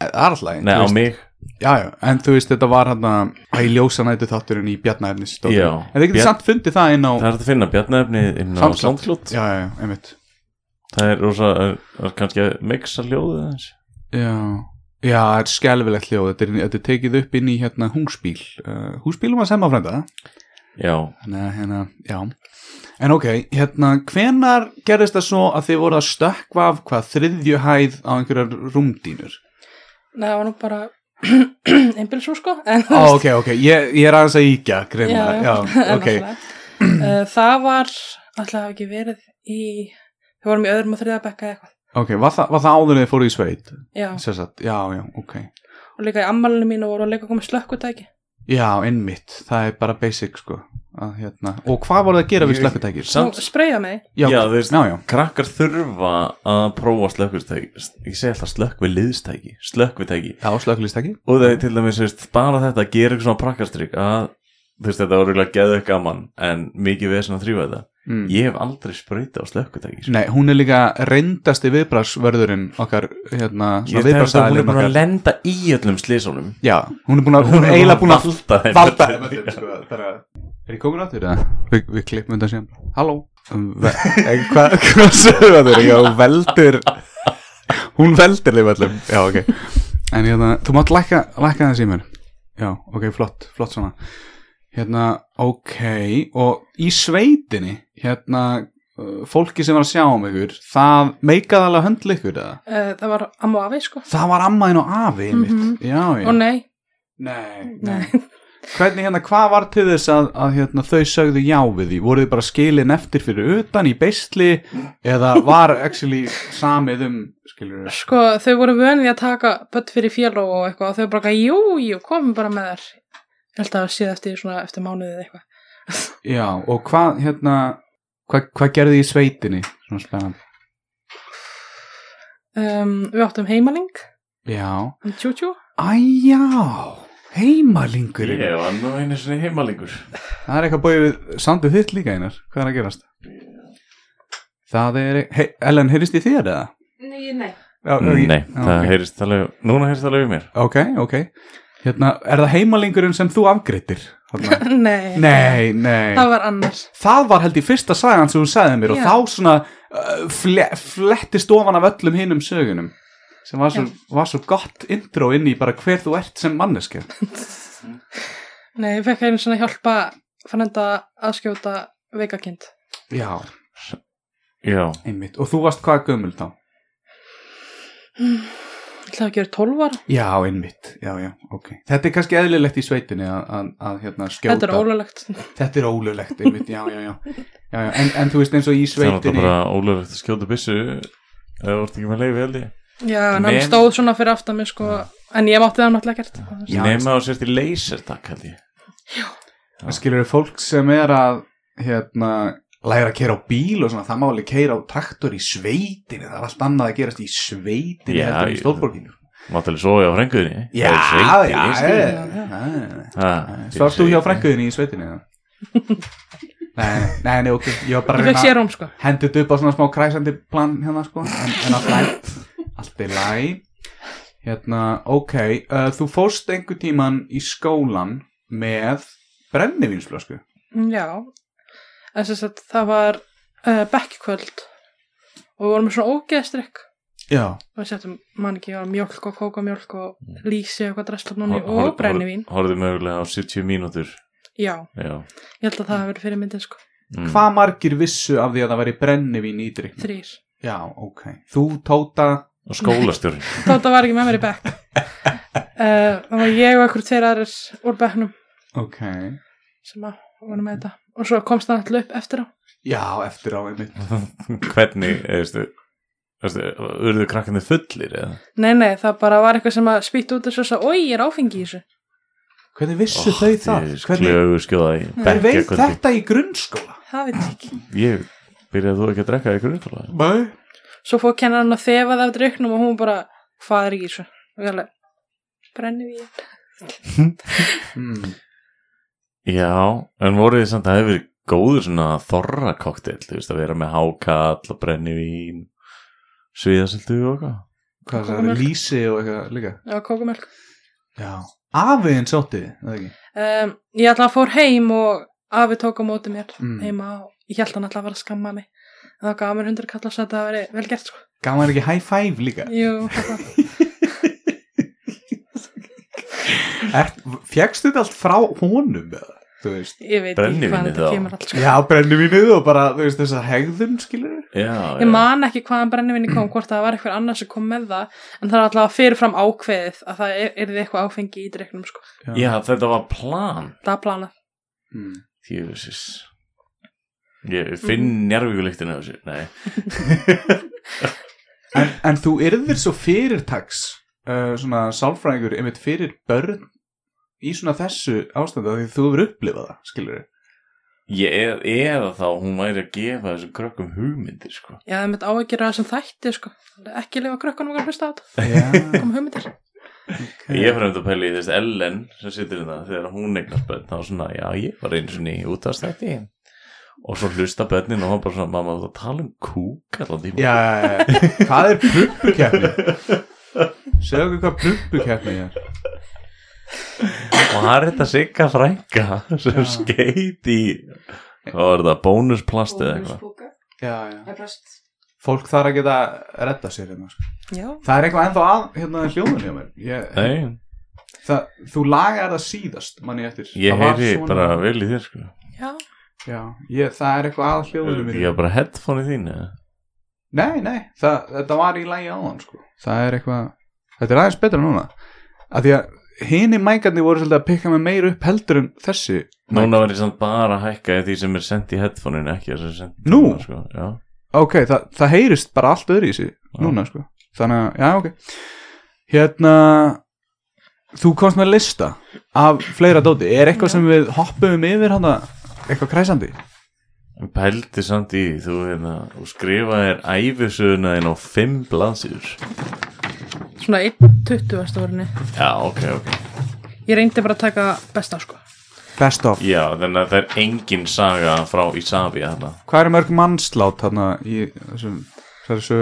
Speaker 3: aðallægin,
Speaker 2: Nei, á mig
Speaker 3: já, já, en þú veist, þetta var hann að, í ljósanætu þátturinn í bjarnaefnis,
Speaker 2: Já.
Speaker 3: en þið getur
Speaker 2: Bjarn-
Speaker 3: samt fundið það inn á,
Speaker 2: Það er hægt að finna bjarnæfnið inn á
Speaker 3: Soundcloud.
Speaker 2: samtlót
Speaker 3: já, já, já, einmitt.
Speaker 2: Það er rosa, er, er kannski að mixa hljóðið aðeins
Speaker 3: Já, já, það er skelfilegt hljóð þetta er, þetta er tekið upp inn í hérna húsbíl uh, húsbílum að semma frænda
Speaker 2: Já,
Speaker 3: þannig að hérna, já en ok, hérna, hvenar gerðist það svo að þið voru að stökkva af hvað þriðju hæð á einhverjar rúmdínur
Speaker 7: Nei, það var nú bara [CLEARS THROAT] einbilsú sko en,
Speaker 3: Ó, ok, ok, ég, ég er aðeins að íkja greinlega,
Speaker 7: [LAUGHS]
Speaker 3: já,
Speaker 7: en
Speaker 3: ok [CLEARS THROAT]
Speaker 7: náttúrulega. Eh, Það var alltaf hafa ekki verið í við vorum í öðrum og þriða bekka eða eitthvað
Speaker 3: ok, var það, var það áður en þið fóru í sveit
Speaker 7: Já,
Speaker 3: sérsagt, já, já, ok
Speaker 7: og líka í ammælinu mínu voru að leika komið slökkutæki
Speaker 3: já, innmitt, það er bara basic sko, að hérna og hvað voru það að gera við slökkutækir?
Speaker 7: og spreyja með því
Speaker 2: Já, þú veist-
Speaker 3: já, já,
Speaker 2: krakkar þurfa að prófa slökkvistæki Ég segi alltaf slökkvi liðstæki Slökkvitæki
Speaker 3: já, slökkulistæki
Speaker 2: og það er til dæmis þú veist, bara þetta að gera eitthvað svona prakkastrygg að þú veist þetta var rúglega geðveikt gaman en mikið við að þrýfa þetta
Speaker 3: mm.
Speaker 2: ég hef aldrei sprauta á slökkutæki sko.
Speaker 3: Nei, hún er líka reyndasti viðbrasvörðurinn okkar, hérna,
Speaker 2: ég veist
Speaker 3: svona
Speaker 2: að hún er
Speaker 3: viðbrasvörðurinn
Speaker 2: búin að
Speaker 3: okkar.
Speaker 2: lenda í öllum slísónum
Speaker 3: Já, hún er búin að, hún er eiginlega búin að
Speaker 2: valda þeim
Speaker 3: valda.
Speaker 2: öllum.
Speaker 3: Er ég komin áttur það? Vi, við klippum þetta síðan. Halló. Um, [LAUGHS] En hvað, hvað sögðu það þér? Já, hún veldir Hún veldir þeim öllum Já, ok En hérna, þú mátt lækka, lækka þessi í mér Já, ok, flott, flott svona Hérna, ok Og í sveitinni Hérna, uh, fólki sem var að sjá um ykkur Það meikaði alveg að höndla ykkur eða?
Speaker 7: Eh, það var amma og afi sko
Speaker 3: Það var ammaðin og afi einmitt
Speaker 7: Mhm.
Speaker 3: Já, já
Speaker 7: og nei,
Speaker 3: Nei,
Speaker 7: nei.
Speaker 3: nei. Hvernig hérna, hvað var til þess að, að hérna, þau sögðu já við því? Voruð þið bara skilin eftir fyrir utan í beisli eða var actually samið um, skilur þau?
Speaker 7: [LAUGHS] sko þau voru vönið að taka börn fyrir félag og eitthvað og þau bara, jú, jú, komum bara með þær ég held að það séð eftir svona eftir mánuðið eða eitthvað
Speaker 3: Já, og hvað, hérna, hvað, hvað gerðu þið í sveitinni? Svona spennandi.
Speaker 7: um, við áttum heimaling
Speaker 3: Já.
Speaker 7: um tjú-tjú
Speaker 3: Æjá, heimalingurinn.
Speaker 2: Ég var nú einu sinni heimalingur
Speaker 3: Það er eitthvað búið við sandu þitt líka einar. Hvað er að gerast? Það er, hey, Ellen, heyrist í þér eða?
Speaker 8: Nei, nei.
Speaker 3: Já,
Speaker 2: Nei,
Speaker 3: já,
Speaker 2: það
Speaker 3: ok.
Speaker 2: heyrist alveg, núna heyrist alveg í mér
Speaker 3: Ok, ok. Hérna, er það heimalingurinn sem þú afgreittir? Þarna?
Speaker 7: [LAUGHS]
Speaker 3: [LAUGHS]
Speaker 7: nei,
Speaker 3: nei, nei.
Speaker 7: það var annars
Speaker 3: Það var held í fyrsta sagan sem þú sagði mér
Speaker 7: Já.
Speaker 3: og þá svona uh, fle flettist ofan af öllum hinum sögunum sem var svo, var svo gott intro inn í bara hver þú ert sem manneski.
Speaker 7: nei, ég fekk einu svona hjálpa frænda að skjóta veikakind
Speaker 3: Já,
Speaker 2: Já,
Speaker 3: einmitt. Og þú varst hvað gömul þá?
Speaker 7: ætlaði að gera 12 ára
Speaker 3: Já, einmitt. Já, já, ok. Þetta er kannski eðlilegt í sveitinni að, að, að hérna, skjóta.
Speaker 7: þetta er ólulegt
Speaker 3: Þetta er ólulegt, einmitt. Já, já, já. já, já. En, en þú veist eins og í
Speaker 2: það er náttúrulega
Speaker 3: sveitinni.
Speaker 2: bara ólöflegt að skjóta byssu eða vort ekki með leiði held ég
Speaker 7: já, en hann
Speaker 2: Men-
Speaker 7: stóð svona fyrir aftan mig sko en ég mátti það náttúrulega gert
Speaker 3: Já,
Speaker 2: Nefna á sért í leysertak held ég
Speaker 3: Það skilur fólk sem er að hérna, læra að keira á bíl og svona, það má alveg keira á traktor í sveitinni, það er allt annað að gerast í sveitinni
Speaker 2: Já,
Speaker 3: heldur en í
Speaker 2: ég-
Speaker 3: stórborginni.
Speaker 2: Máttalega svo ég á frænguðinni
Speaker 3: Já, já, já, já, já. Svart þú hjá frænguðinni í sveitinni? [LAUGHS] eða? nei, nei, nei, ok, ég var bara
Speaker 7: ég
Speaker 3: að
Speaker 7: fekk
Speaker 3: reyna
Speaker 7: sérum sko
Speaker 3: hendut upp á svona smá kræsandi plan hérna sko, en, en allt læg allt er læg hérna, ok, uh, þú fórst einhver tíman í skólan með brennivínsflösku
Speaker 7: Já, en sem sagt það var uh, bekkvöld og við vorum með svona ógeðstrykk
Speaker 3: já,
Speaker 7: og við settum mann ekki, var mjölk og kókamjölk
Speaker 3: Mm.
Speaker 7: og lýsi og eitthvað dresslapnóni og brennivín.
Speaker 2: Horfðu mögulega á 70 mínútur
Speaker 7: Já,
Speaker 2: Já
Speaker 7: ég held að það hafi verið fyrir myndin sko,
Speaker 2: Mm.
Speaker 3: Hvað margir vissu af því að það væri brennivín í drikk?
Speaker 7: þrýr.
Speaker 3: Já, ok. Þú, Tóta,
Speaker 2: Og skólastjóri
Speaker 7: Tóta var ekki með mér í bekk. Uh, það var ég og einhver tveir aðrir úr bekknum
Speaker 3: ok.
Speaker 7: sem að voru með þetta og svo komst það alltaf upp eftir á.
Speaker 3: Já, eftir á einmitt.
Speaker 2: [LAUGHS] Hvernig, eða veistu Veistu, urðu krakkandi fullir eða?
Speaker 7: Nei, nei, það bara var eitthvað sem að spýtt út þessu og svo, oi, ég er áfengi í þessu.
Speaker 3: Hvernig
Speaker 2: Oh,
Speaker 3: vissu þau það? Hvernig,
Speaker 2: Klögu skjóða í
Speaker 3: hver veit
Speaker 2: bekkjakvöldi.
Speaker 3: þetta í grunnskóla?
Speaker 7: Það veit ég ekki.
Speaker 2: Ég byrjaði þú ekki að drekka í grunnskóla
Speaker 3: Nei.
Speaker 7: svo fór kennarinn að þefa það af dryknum og hún bara, hvað er ekki í þessu og ég alveg, brenni við
Speaker 3: Mm.
Speaker 2: Já, en voru þið samt að það hefur verið góður svona þorra koktel, þú veist, að vera með hákall og brennivín, sviðasildu og eitthvað.
Speaker 3: Hvað það er, lýsi og eitthvað líka?
Speaker 7: og kókumjölk
Speaker 3: Já. Afiðin sátti þið, eða ekki?
Speaker 7: um, ég ætla að fór heim og afi tók á móti mér
Speaker 3: Mm.
Speaker 7: heima og ég held hann alltaf að vera að skamma mig en það gaf mér hundur kall að þetta að veri vel gert sko.
Speaker 3: Gaf hann ekki high five líka?
Speaker 7: Jú, það-
Speaker 3: Er, fjekstu þetta allt frá honum, eða? Þú veist?
Speaker 7: ég veit ekki
Speaker 2: Brennivínið
Speaker 7: hvað þetta
Speaker 2: þá.
Speaker 7: kemur allt sko.
Speaker 3: Já, brennivínið og bara, þú veist, þess að hegðun, skilur þið?
Speaker 2: Já,
Speaker 7: ég man ekki hvaðan brennivinni kom hvort það var eitthvað annars sem kom með það en það er alltaf fyrirfram ákveðið að það er, er eitthvað áfengi í dryknum sko.
Speaker 2: já, þetta var plan.
Speaker 7: það er planað
Speaker 3: Mm.
Speaker 2: Jöfisins. Ég finn mm. njárvíkulíktin af þessu, nei.
Speaker 3: en, en þú yrðir svo fyrirtaks uh, svona sálfræðingur einmitt fyrir börn í svona þessu ástanda því þú hefur upplifað það, skilur við
Speaker 2: Ég eð, eða þá, hún væri að gefa þessum krökkum hugmyndir, sko.
Speaker 7: Já, það mitt á að gera það sem þætti, sko. Ekki lifa krökkunum okkar að hlusta á þetta.
Speaker 3: Já,
Speaker 7: Kom hugmyndir.
Speaker 2: Ég fyrir um þetta að pæla í þess Ellen sem situr hérna þegar hún eignast börn þá svona, já ég var einu svona í útastætti og svo hlusta börnin og hann bara svona, mamma þú ert að tala um kúk allan tíma
Speaker 3: já, já, já. hvað er prumpukeppni? Segðu okkur hvað prumpukeppni er
Speaker 2: og hann er þetta sigga frænka sem
Speaker 3: Já.
Speaker 2: skeit í Hvað var það? Bónusplast eða eitthvað?
Speaker 8: Bónusbóka.
Speaker 3: já, já.
Speaker 8: Það er plast.
Speaker 3: fólk þarf að geta redda sér hérna. sko.
Speaker 7: Já.
Speaker 3: það er eitthvað ennþá að hérna hljóðun hjá mér ég,
Speaker 2: Nei,
Speaker 3: það, þú lagar það síðast manni eftir
Speaker 2: ég
Speaker 3: Það var
Speaker 2: heyri
Speaker 3: svona-
Speaker 2: bara vel í þér sko
Speaker 7: Já.
Speaker 3: já, ég, það er eitthvað að hljóðunum
Speaker 2: Ég var bara headphone í þín eða?
Speaker 3: Nei, nei, það, þetta var í lægi áðan sko. það er eitthvað, þetta er aðeins betra núna af því að hini mækarnir voru svolítið að pikka mig meir upp heldur en þessi
Speaker 2: Núna var ég samt bara að hækka í því sem er sendt í headphoneinu ekki þess að sendt
Speaker 3: Nú?
Speaker 2: sko. Já,
Speaker 3: ok, það, það heyrist bara allt öðru í sig núna sko, þannig að, já ok hérna þú komst með lista af fleira dóti, er eitthvað sem við hoppum yfir hana, eitthvað kræsandi
Speaker 2: En pældi samt í því, þú hérna og skrifaðir æfisöðuna þín á fimm blaðsýður
Speaker 7: Svona 1.20 varstu vorinni.
Speaker 2: Já, ok, ok
Speaker 7: Ég reyndi bara að taka besta sko.
Speaker 3: best of,
Speaker 2: Já, þannig að það er engin saga frá Ísafi þarna
Speaker 3: hvað er mörg mannslát hana í þessum, þessu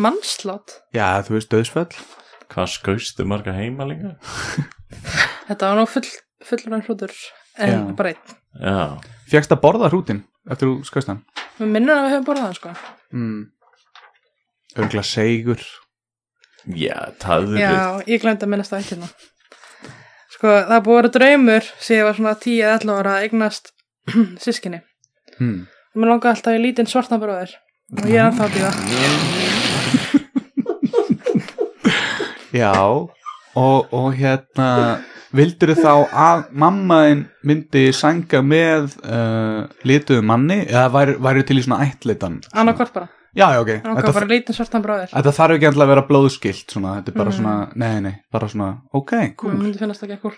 Speaker 7: Mannslát.
Speaker 3: já, þú veist, döðsfell
Speaker 2: Hvað skaustu marga heima líka?
Speaker 7: Þetta var nú full, fullur enn hlutur. En
Speaker 3: Já.
Speaker 7: bara einn.
Speaker 2: Já,
Speaker 3: Fjækst að borða hrútin eftir þú skast hann?
Speaker 7: Við minnum að við höfum borðað það sko.
Speaker 3: Mm. Örgla seigur.
Speaker 2: já, taðu
Speaker 7: Já,
Speaker 2: við
Speaker 7: ég glemdi að minnast það eitt hérna. Sko, það er búið að vera draumur síðan ég var svona 10-11 ára að eignast [CLEARS THROAT] sískinni.
Speaker 3: Mm.
Speaker 7: Og mér langaði alltaf í lítinn svartan bróðir. Og ég er ennþá að býða.
Speaker 3: Já, og, og hérna, vildur þá að mammaðin myndi sanga með uh, lituðu manni eða væri, væri til í svona ættleitan?
Speaker 7: Annarkort bara.
Speaker 3: Já, já, ok.
Speaker 7: Mér langaði bara í lítinn svartan bróðir.
Speaker 3: þetta þarf ekki alltaf að vera blóðskilt svona, þetta er
Speaker 7: Mm.
Speaker 3: bara svona, nei, nei, bara svona, ok, cool.
Speaker 7: Mér myndi finnast það ekki cool.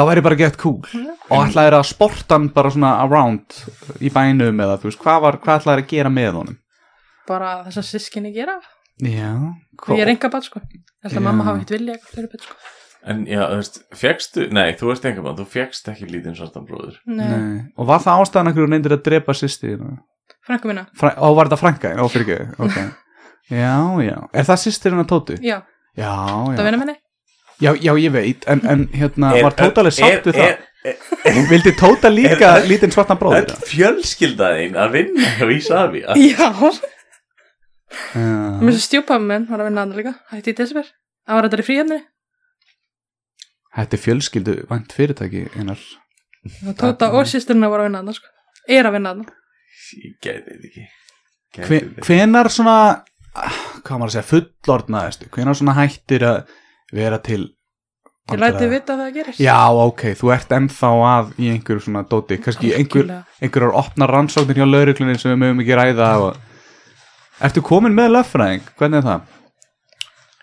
Speaker 3: Það væri bara gett cool.
Speaker 7: Já.
Speaker 3: Og ætlaðir að sporta hann bara svona around í bænum eða þú veist, hvað, var- hvað ætlaðir að gera með honum?
Speaker 7: Bara það sem sískinni gera.
Speaker 3: Já,
Speaker 7: Cool. Ég er enga bat sko. Ég held að
Speaker 3: Já.
Speaker 7: mamma hafi ekkert vilja eitthvað fyrir bet sko.
Speaker 2: En já, þú veist, fjekkstu Nei, þú veist einhvern veginn, þú fjekkst ekki lítinn svartan bróður
Speaker 7: Nei. Nei.
Speaker 3: Nei. Og var það ástæðan að hverju hún reyndir að drepa sýsti hérna?
Speaker 7: Frænku mína.
Speaker 3: Fra og var þetta frænka hérna? Ó, fyrir Ok.
Speaker 7: [LAUGHS]
Speaker 3: Já, já. Er það sýstir hérna Tóti?
Speaker 7: Já,
Speaker 3: Já,
Speaker 7: það
Speaker 3: já.
Speaker 7: vinna minni.
Speaker 3: Já, já, ég veit. En, en hérna,
Speaker 2: Er-
Speaker 3: var Tóta alveg sátt við
Speaker 2: er-
Speaker 3: það? Vildi Tóta líka
Speaker 2: er-
Speaker 3: lítinn svartan bróðir?
Speaker 2: Öll fjölskyldaðin að vinna hjá Ísafi
Speaker 7: Já.
Speaker 3: Já.
Speaker 7: Mér svo stjúpaði minn var að vinna andur líka. Hætti í desember. Það var þetta í fríhefni.
Speaker 3: Þetta er fjölskyldu vant fyrirtæki einar.
Speaker 7: Tóta og sýstirna voru að vinna andur sko. Er að vinna andur.
Speaker 2: Ég gæti þetta ekki Gæti
Speaker 3: Hve,
Speaker 2: þetta ekki.
Speaker 3: hvenar svona, ah, hvað á maður að segja, fullorðnaðist? Hvenar svona hættir að vera til...
Speaker 7: Ég læti vita að það gerist.
Speaker 3: Já, ok, þú ert ennþá að í einhverju svona dóti, kannski í einhver,
Speaker 7: Algjörlega.
Speaker 3: einhverjar opnar rannsóknir hjá lauruglunni sem við mögum ekki ræða og... Ertu komin með löffræðing? Hvernig er það?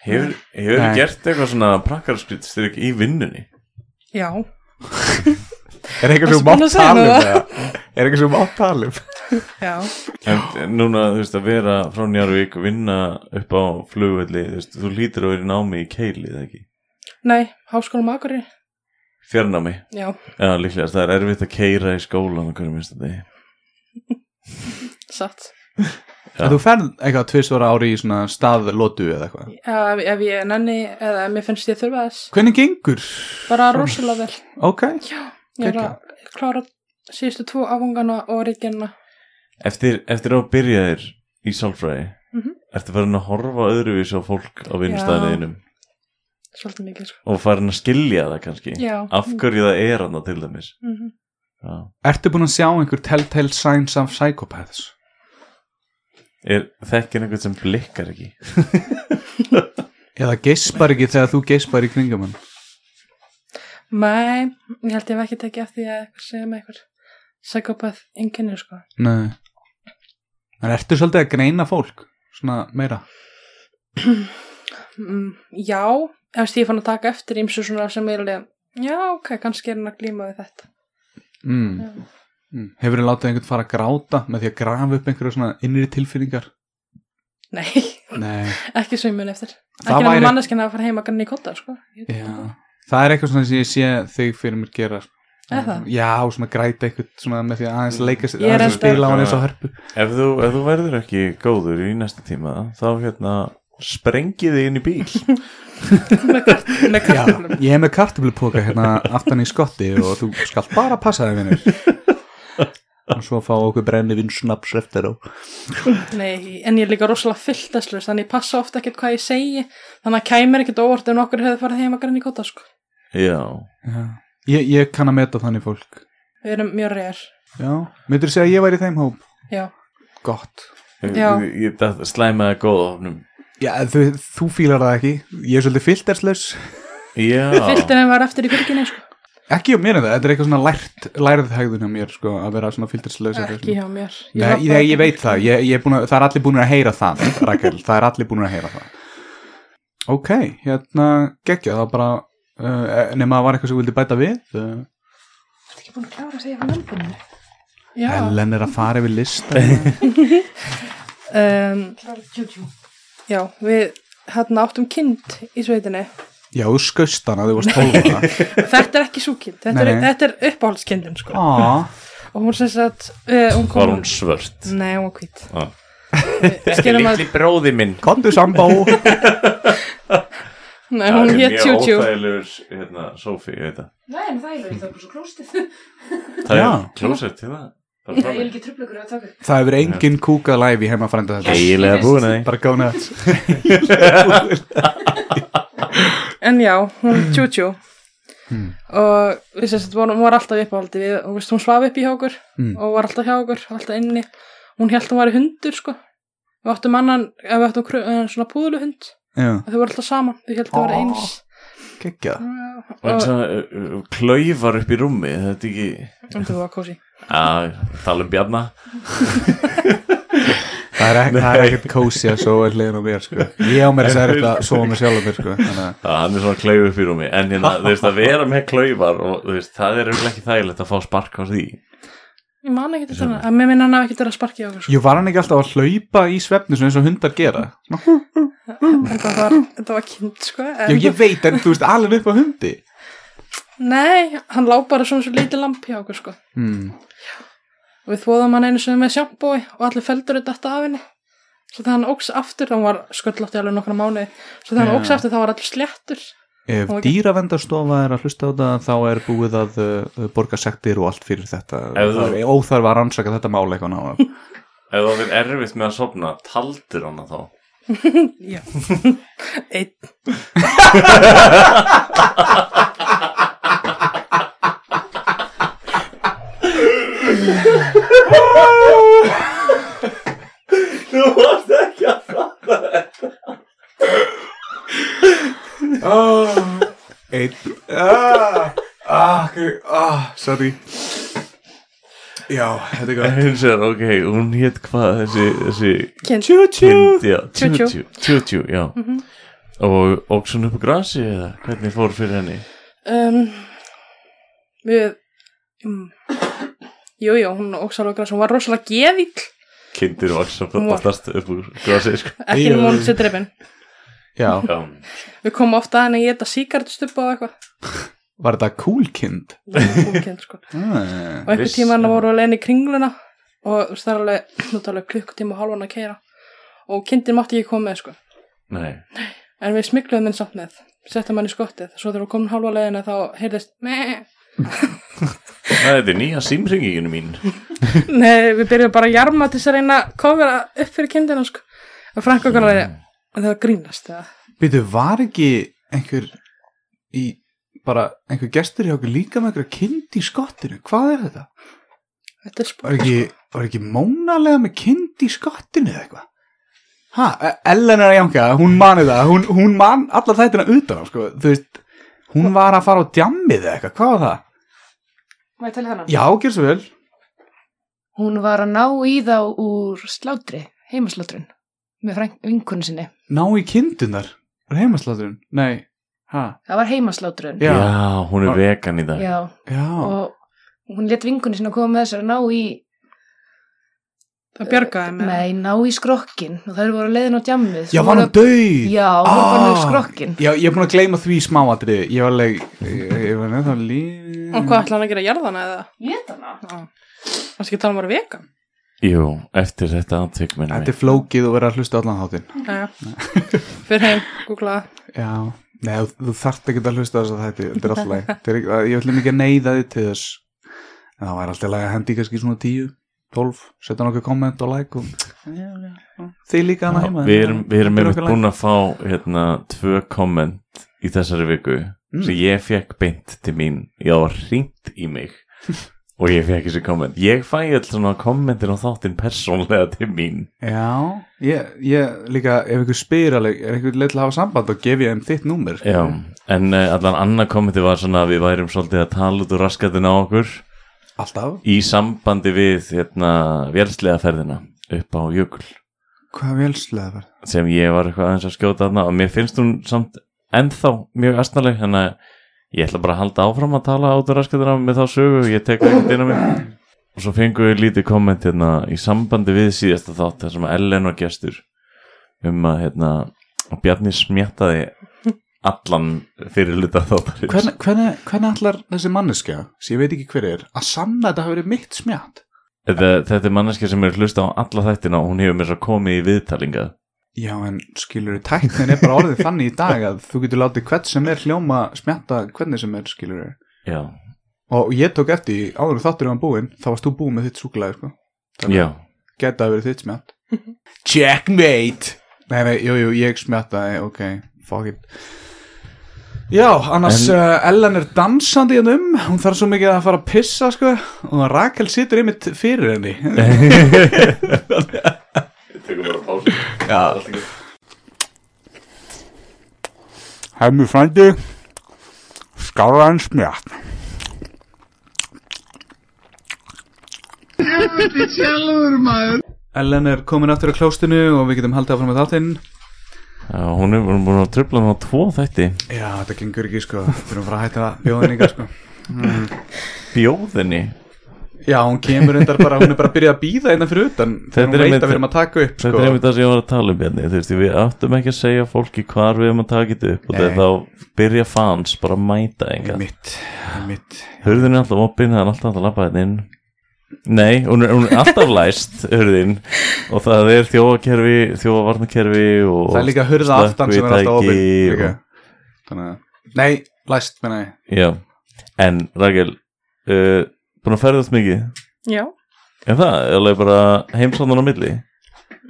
Speaker 2: Hefur, hefur
Speaker 3: Nei.
Speaker 2: gert eitthvað svona prakkarskrittstyrk í vinnunni?
Speaker 7: Já.
Speaker 3: Er eitthvað
Speaker 7: Varstu
Speaker 3: sem mátt
Speaker 7: búin að segja
Speaker 3: tala um
Speaker 7: það?
Speaker 3: það? Er eitthvað sem mátt tala um?
Speaker 7: Já.
Speaker 2: En en núna, þú veist, að vera frá Njarvík vinna upp á flugvelli, þú veist, þú lítur að vera í námi í keili, eða ekki?
Speaker 7: Nei, háskólum akkurir.
Speaker 2: Fjarnámi,
Speaker 7: Já.
Speaker 2: já, líklegast, það er erfitt að keira í skólan og hverju minnst þetta
Speaker 7: Satt.
Speaker 2: Já.
Speaker 3: En þú ferð eitthvað tvisvara ári í svona staðlótu eða eitthvað?
Speaker 7: Ef, ef ég nenni, eða ef mér finnst ég þurfa þess.
Speaker 3: Hvernig gengur?
Speaker 7: Bara rosalega vel.
Speaker 3: Ok,
Speaker 7: Ég er að klára síðustu tvo afungana og ríkjana.
Speaker 2: Eftir, eftir að þú byrjaðir í sálfræði,
Speaker 7: Mhm.
Speaker 2: ertu farin að horfa öðruvísi á fólk á vinnstæðinum
Speaker 7: Svolítið mikið sko.
Speaker 2: og farin að skilja það kannski,
Speaker 7: Já.
Speaker 2: af hverju það er hann til dæmis.
Speaker 7: Mm
Speaker 2: Já.
Speaker 3: ertu búin að sjá einhver telltale signs of psychopaths?
Speaker 2: Er, þekkir einhvern sem blikkar ekki?
Speaker 3: Eða geispar ekki þegar þú geispar í kringum hann?
Speaker 7: Nei, ég held ég hef ekki tekið eftir því að eitthvað segja með eitthvað psychopath enginni, sko.
Speaker 3: Nei. En ertu svolítið að greina fólk? Svona meira?
Speaker 7: Mm, já, ef veist, ég er fann að taka eftir ímsu svona sem er alveg, já, ok, kannski er hann að glíma við þetta.
Speaker 3: Mm.
Speaker 7: Já.
Speaker 3: Mm. Hefur þið látið einhvern fara að gráta með því að grafa upp einhverju svona innri tilfinningar?
Speaker 7: Nei,
Speaker 3: Nei,
Speaker 7: ekki svo ég mun eftir.
Speaker 3: Það
Speaker 7: ekki
Speaker 3: væri-
Speaker 7: nema manneskina að fara heim að ganna í kóta, sko. Ég-
Speaker 3: já. Það er eitthvað svona sem ég sé þig fyrir mér gera. sko.
Speaker 7: Er það?
Speaker 3: Já, svona græta eitthvað svona með því að
Speaker 5: Mm.
Speaker 3: aðeins leika sér,
Speaker 7: Ég er
Speaker 3: aðeins að
Speaker 7: enda-
Speaker 3: spila á hann eins og hörpu.
Speaker 2: Ef þú, ef þú verður ekki góður í næsta tíma þá hérna sprengið þig inn í bíl
Speaker 7: [LAUGHS] með kart, með
Speaker 3: Já,
Speaker 7: kartum.
Speaker 3: ég er með kartöflupoka hérna aftan í skotti og þú skalt bara passa þig vinnur.
Speaker 5: og svo fá okkur brenni vinsnaps eftir á
Speaker 7: Nei, en ég er líka rosalega fylltestlust þannig ég passa ofta ekkert hvað ég segi þannig að kæmur ekkert á óvart ef nokkur hefði farið heim að grann í kota sko.
Speaker 2: Já,
Speaker 3: Já. Ég, ég kann að meta þannig fólk
Speaker 7: Við erum mjög reyðar
Speaker 3: Já, myndur þú segja að ég væri í þeim hóp?
Speaker 7: Já,
Speaker 3: Gott
Speaker 7: Já.
Speaker 2: Ég- ég- það slæmaði góða ofnum
Speaker 3: Já, þú, þú fílar það ekki Ég er svolítið filterslaus
Speaker 2: Já,
Speaker 7: fylltin en var eftir í fyrkinni sko.
Speaker 3: Ekki á mér en það, þetta er eitthvað svona lært, lærið hegðun hjá mér sko, að vera svona filterslaus
Speaker 7: ekki hjá mér
Speaker 3: Nei,
Speaker 7: labba-
Speaker 3: ég, ég, veit það, ég, ég er búin að, það er allir búin að heyra það, Rakel, það er allir búin að heyra það. Ok, hérna, geggja, það var bara, uh, nema það var eitthvað sem þú vildi bæta við, uh,
Speaker 7: Ertu ekki búin að klára að segja frá nömbunni Já
Speaker 3: Ellen er að fara yfir lista.
Speaker 7: um, Já, við hérna áttum kind í sveitinni
Speaker 3: Já, þú skaust hana, þú varst 12 ára.
Speaker 7: [LAUGHS] Þetta er ekki svo kind, þetta er,
Speaker 3: Nei.
Speaker 7: þetta er uppáhaldskindin sko.
Speaker 3: Á,
Speaker 7: og hún sem sagt uh, hún kom,
Speaker 2: var hún svört
Speaker 7: Nei, hún var hvít
Speaker 2: Ah.
Speaker 7: Skilum að
Speaker 2: bróði minn
Speaker 3: kondu sambó.
Speaker 7: Nei, hún
Speaker 2: Það er mjög
Speaker 7: hétt Jújú
Speaker 2: óþægilegur hérna, Sophie, ég veit það
Speaker 8: Nei, en það er verið það bara svo klóstið.
Speaker 2: Það
Speaker 3: Já.
Speaker 2: er klósett hérna bara
Speaker 8: Ég
Speaker 2: frá
Speaker 8: er
Speaker 2: mér.
Speaker 8: ekki tröfla ykkur að taka.
Speaker 3: Það hefur enginn kúkað live í heima frænda þetta.
Speaker 2: Eiginlega búin að því
Speaker 3: Bara góna þetta.
Speaker 7: En já, hún Jújú og við sérst, hún, hún var alltaf í uppáhaldi við, og veist, hún svaf upp í hjá okkur
Speaker 3: Mm.
Speaker 7: og var alltaf hjá okkur, alltaf inni hún held hún var í hundur sko við áttum annan, eh, við áttum kru- eh, svona púðluhund
Speaker 3: Já,
Speaker 7: og þau voru alltaf saman, þau held það var
Speaker 3: Ó.
Speaker 7: eins
Speaker 3: geggja.
Speaker 2: Og eins og uh, uh, klaufar upp í rúmi Þetta er ekki
Speaker 7: og þau var kósi
Speaker 2: að tala um bjarna
Speaker 3: Það er ekki- það er ekkert kósi að sofa hliðin á mér, sko. Ég á mér að segja þetta að sofa mér sjálf á mér, sko. Þannig að,
Speaker 2: að hann er svona klauf upp í rúmi en hérna, þú veist, að vera með klaufar og þú veist, það er eiginlega ekki þægilegt að fá spark á því
Speaker 7: ég man ekki þetta hana, að mér minn hann hafi ekki verið að sparki í okkur sko.
Speaker 3: Jú, var hann ekki alltaf að hlaupa í svefni svona eins og hundar gera? Svona,
Speaker 7: þetta var, þetta var kind sko en,
Speaker 3: Já, ég veit, en þú veist, alveg upp á hundi.
Speaker 7: nei, hann lá bara svona svo lítið lampi á okkur sko
Speaker 3: Hmm.
Speaker 7: og við þvóðum hann einu sinni með sjampói og allir feldur þetta alltaf af henni svo þegar hann óks aftur, hann var sköllótt í alveg nokkra mánuði, svo þegar hann
Speaker 3: Já.
Speaker 7: óks aftur þá var allir sléttur
Speaker 3: Ef
Speaker 7: Og-
Speaker 3: dýravendarstofa er að hlusta á það, þá er búið að uh, borga sektir og allt fyrir þetta.
Speaker 2: Ef þú-
Speaker 3: Það er óþarf að rannsaka þetta mála eitthvað náðan.
Speaker 2: ef það er erfitt með að sopna, taldir hann þá
Speaker 7: já, einn
Speaker 3: Einn. Ah, ah, ok, ah, sorry. Já, þetta er gott.
Speaker 2: hins er, ok, hún hétt hvað þessi, þessi
Speaker 7: kind,
Speaker 3: Tjú, tjú.
Speaker 2: kind, já,
Speaker 7: Tjú, tjú.
Speaker 2: tjú, tjú, tjú, já
Speaker 3: Mhm.
Speaker 2: og óksun upp á grasi eða hvernig fór fyrir henni
Speaker 7: um, við um, jú, jú, hún óks alveg græs hún var rosalega geðill
Speaker 2: kindir vaksa
Speaker 7: Hún var-
Speaker 2: oftast upp á grasi sko.
Speaker 7: ekki
Speaker 3: Jú.
Speaker 7: um hún sér drefin
Speaker 3: Já,
Speaker 2: já,
Speaker 7: við komum ofta að henni að geta síkartstubba og eitthvað
Speaker 3: var þetta kúlkind?
Speaker 7: Hún kind, sko.
Speaker 3: Ah,
Speaker 7: og einhver
Speaker 2: Viss,
Speaker 7: tíma hann
Speaker 2: já.
Speaker 7: voru alveg í kringluna og þú veist, það er alveg, nú talar klukkutíma og halvan að keira og kindin mátti ekki koma með sko
Speaker 2: nei,
Speaker 7: En við smikluðum henn samt með, settum hann í skottið, svo þegar við komum hálfa leiðina þá heyrðist meh.
Speaker 2: það er þetta nýja símringinu mín
Speaker 7: Nei, við byrjuðum bara að jarma til þess að reyna að kofra upp fyrir kindina, sko. Og Frank okkar leiði, en það var grínast, eða.
Speaker 3: Býtu, var ekki einhver í, bara einhver gestur hjá okkur líka með einhverja kind í skottinu? Hvað er þetta?
Speaker 7: Þetta er
Speaker 3: Var
Speaker 7: spók.
Speaker 3: ekki, var ekki mónalega með kind í skottinu eða eitthvað? Ha, E- Ellen er að jánka, hún mani það, hún, hún man alla þættina utan, á, sko, þú veist, hún var að fara á djammið eða eitthvað, hvað var það?
Speaker 8: Má ég tala um hana?
Speaker 3: Já, gerð svo vel.
Speaker 8: Hún var að ná í þá úr slátri, heimaslátrun, með fræng, vinkunni sinni.
Speaker 3: Ná í kindunar, var heimasláturinn? Nei, ha,
Speaker 8: Það var heimaslátrun.
Speaker 3: Já.
Speaker 2: hún er vegan í dag
Speaker 8: Já,
Speaker 3: já,
Speaker 8: og hún let vinkunni sinna að koma með þessar að ná í,
Speaker 7: Það bjargaði mig.
Speaker 8: nei, ná í skrokkin og þær voru að leiðin á djammið.
Speaker 3: já,
Speaker 8: Svo
Speaker 3: var
Speaker 8: voru
Speaker 3: hann döið?
Speaker 8: Já, hún var bara með
Speaker 3: Ah.
Speaker 8: skrokkin.
Speaker 3: Já, ég er búin að gleyma því smáatrið, ég var alveg, ég, ég var nefnir þá líf.
Speaker 7: Og hvað ætla hann að gera jarðana eða?
Speaker 8: Lét hana?
Speaker 7: Það sé ekki að tala um að vera vegan.
Speaker 2: jú, eftir þetta aðtök minni
Speaker 3: Þetta er flókið og verið að hlusta á allan þáttinn.
Speaker 7: Jæja. Fyrir heim, googlaða.
Speaker 3: Já, nei, þú- þú þarft ekki að hlusta á þess að þetta, þetta er alltaf læg. Ég ætlum ekki að neyða þið til þess. En það væri alltaf læg að hendi í kannski svona tíu. 12, setja nokkuð komment og like og... Já, já, já. þið líka hann að heima hérna.
Speaker 2: Við erum, við erum
Speaker 3: Þetta er
Speaker 2: einmitt
Speaker 3: okkur like.
Speaker 2: búin að fá hérna, tvö komment í þessari viku
Speaker 3: Mm.
Speaker 2: sem ég fekk beint til mín ég var hringt í
Speaker 3: [LAUGHS]
Speaker 2: mig og ég fekk þessi komment ég fæ alltaf svona kommentir á þáttinn persónlega til mín
Speaker 3: Já, ég, ég líka ef einhver spyr alveg, er einhver leið til að hafa samband og gef ég þeim þitt númer
Speaker 2: Já, en uh, allan annar kommenti var svona að við værum svolítið að tala út úr raskatina á okkur
Speaker 3: Alltaf,
Speaker 2: í sambandi við hérna, vélslegaferðina upp á jökul
Speaker 3: hvað velslega verð
Speaker 2: sem ég var eitthvað aðeins að skjóta þarna og mér finnst hún samt ennþá mjög astnaleg þannig að ég ætla bara að halda áfram að tala át og raskatina með þá sögu og ég tek það ekkert inn á mig og svo fengum við lítið komment hérna í sambandi við síðasta þátt þar sem Ellen var gestur um að hérna og Bjarni smjattaði allan fyrir luta þáttarins
Speaker 3: Hvernig, hvernig, hvernig allar þessi manneskja, sem ég veit ekki hver er, að sanna að þetta hafi verið mitt smjátt?
Speaker 2: þetta, þetta er manneskja sem er að hlusta á alla þættina og hún hefur mér svo komið í viðtalingað
Speaker 3: Já, en skilur við, tæknin er bara orðið þannig í dag að þú getur látið hvern sem er hljóma smjatta hvernig sem er, skilur við.
Speaker 2: já,
Speaker 3: Og ég tók eftir, í- áður en þáttur um búinn, þá varst þú búinn með þitt súkulæði, sko.
Speaker 2: já,
Speaker 3: Geta að verið þitt smjátt. [LAUGHS] Checkmate! Nei, nei, jú, jú, ég smjattaði, ok, fuck it. Já, annars
Speaker 2: En-
Speaker 3: uh, Ellen er dansandi hérna um, hún þarf svo mikið að fara að pissa, sko, og Rakel situr einmitt fyrir [LAUGHS] henni.
Speaker 9: Hemmi frændi, skáraðan smjátt.
Speaker 3: Ellen er komin aftur á klóstinu og við getum haldið áfram með þáttinn
Speaker 2: já hún er hún er búin að tröfla hann á tvo þætti
Speaker 3: Já, þetta gengur ekki sko, þurfum bara að hætta að bjóða henni ykkar sko
Speaker 2: bjóðinni
Speaker 3: Já, hún kemur undar bara, hún er bara að byrja að býða einna fyrir utan
Speaker 2: Þetta
Speaker 3: Þegar hún
Speaker 2: er
Speaker 3: veit
Speaker 2: einmitt-
Speaker 3: að við erum að taka upp
Speaker 2: Þetta
Speaker 3: sko
Speaker 2: er einmitt það sem ég var að tala um hérna Þú veist, við áttum ekki að segja fólki hvar við erum að taka þetta upp og
Speaker 3: Nei.
Speaker 2: þegar þá byrja fans bara að mæta enga
Speaker 3: Einmitt, einmitt
Speaker 2: Hurðin er alltaf opinn, það er alltaf að labba hérna inn Nei, hún er, hún er alltaf læst hurðin og það er þjófakerfi, þjófavarnakerfi og
Speaker 3: Það er líka hurða aftan sem er alltaf
Speaker 2: slökkvitæki
Speaker 3: opið
Speaker 2: og-
Speaker 3: líka. Þannig að Nei, læst, menna ég
Speaker 2: Já, en Rakel uh, búin að ferðast mikið
Speaker 7: Já,
Speaker 2: En það, er alveg bara heimsóðan á milli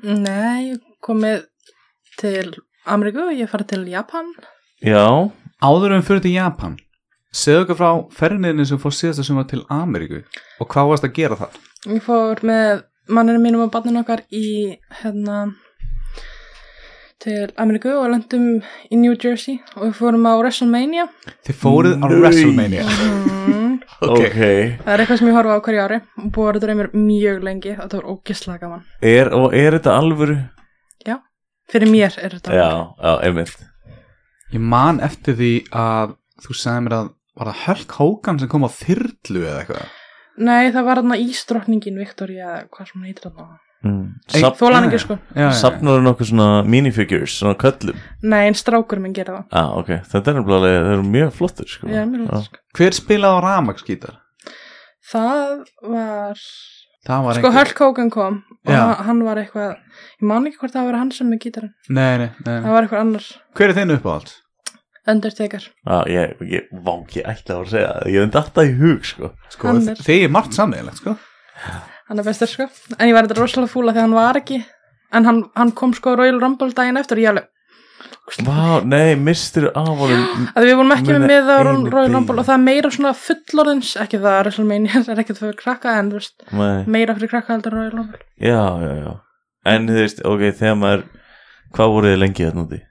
Speaker 7: nei, ég komið til Ameríku, ég farið til Japan.
Speaker 2: Já,
Speaker 3: Áður en fyrir til Japan Segðu okkur frá ferðinni sem fór síðasta sem var til Ameríku Og hvað varst að gera þar?
Speaker 7: Ég fór með manninu mínum og barninu okkar í hérna til Ameríku og lendum í New Jersey og við fórum á WrestleMania
Speaker 3: Þið fóruð á WrestleMania
Speaker 7: mm,
Speaker 2: ok,
Speaker 7: Það er eitthvað sem ég horfa á hverju ári og búið að þetta reymir mjög lengi og þetta var ógislega gaman
Speaker 2: Er, Og er þetta alvöru?
Speaker 7: Fyrir mér er þetta
Speaker 2: Já, já, einmitt
Speaker 3: Ég man eftir því að þú sagði mér að var það Hulk Hogan sem kom á þyrlu eða eitthvað?
Speaker 7: Nei, það var þarna ísdrottningin Victoria, eða hvað sem hún heitir þarna
Speaker 2: Mm.
Speaker 3: Ei,
Speaker 2: Safn-
Speaker 7: Þólan ekki sko
Speaker 3: Já, já, já.
Speaker 2: Safnar hann okkur svona minifigures, svona köllum
Speaker 7: Nei, en strákur minn gera það
Speaker 2: ah, ok, Þetta er nefnilega, alveg- þeir eru mjög flottir sko.
Speaker 7: Já,
Speaker 2: Já.
Speaker 7: mér finnst sko.
Speaker 3: Hver spilaði á ramagsgítar?
Speaker 7: Það var
Speaker 3: Það var
Speaker 7: Sko Hulk Hogan kom og
Speaker 3: Já.
Speaker 7: hann- hann var eitthvað Ég man ekki hvort það var hann sem er gítarinn
Speaker 3: Nei, nei, nei,
Speaker 7: Það
Speaker 3: nei.
Speaker 7: var eitthvað annars
Speaker 3: Hver er þinn uppáhald?
Speaker 7: Undertaker
Speaker 2: ah, Ég, ég vá ekki ætla að segja það Ég veit þetta í hug sko.
Speaker 3: Sko,
Speaker 7: Hann er-
Speaker 3: þið er margt sammeðilegt, sko.
Speaker 7: Hann er bestur sko En ég var þetta rosalega fúla þegar hann var ekki En hann, hann kom sko Royal Rumble daginn eftir og ég alveg
Speaker 2: Vá, nei, mistur af honum
Speaker 7: að við vorum ekki
Speaker 2: Muna
Speaker 7: með með á
Speaker 2: einu
Speaker 7: Royal
Speaker 2: degi.
Speaker 7: Rumble og það er meira svona fullorðins ekki það að WrestleMania [LAUGHS] er ekkert fyrir krakka en þú veist
Speaker 2: nei.
Speaker 7: meira fyrir krakka heldur en Royal Rumble
Speaker 2: Já, já, já En þú veist, ok, þegar maður Hvað voruð þið lengi þarna úti?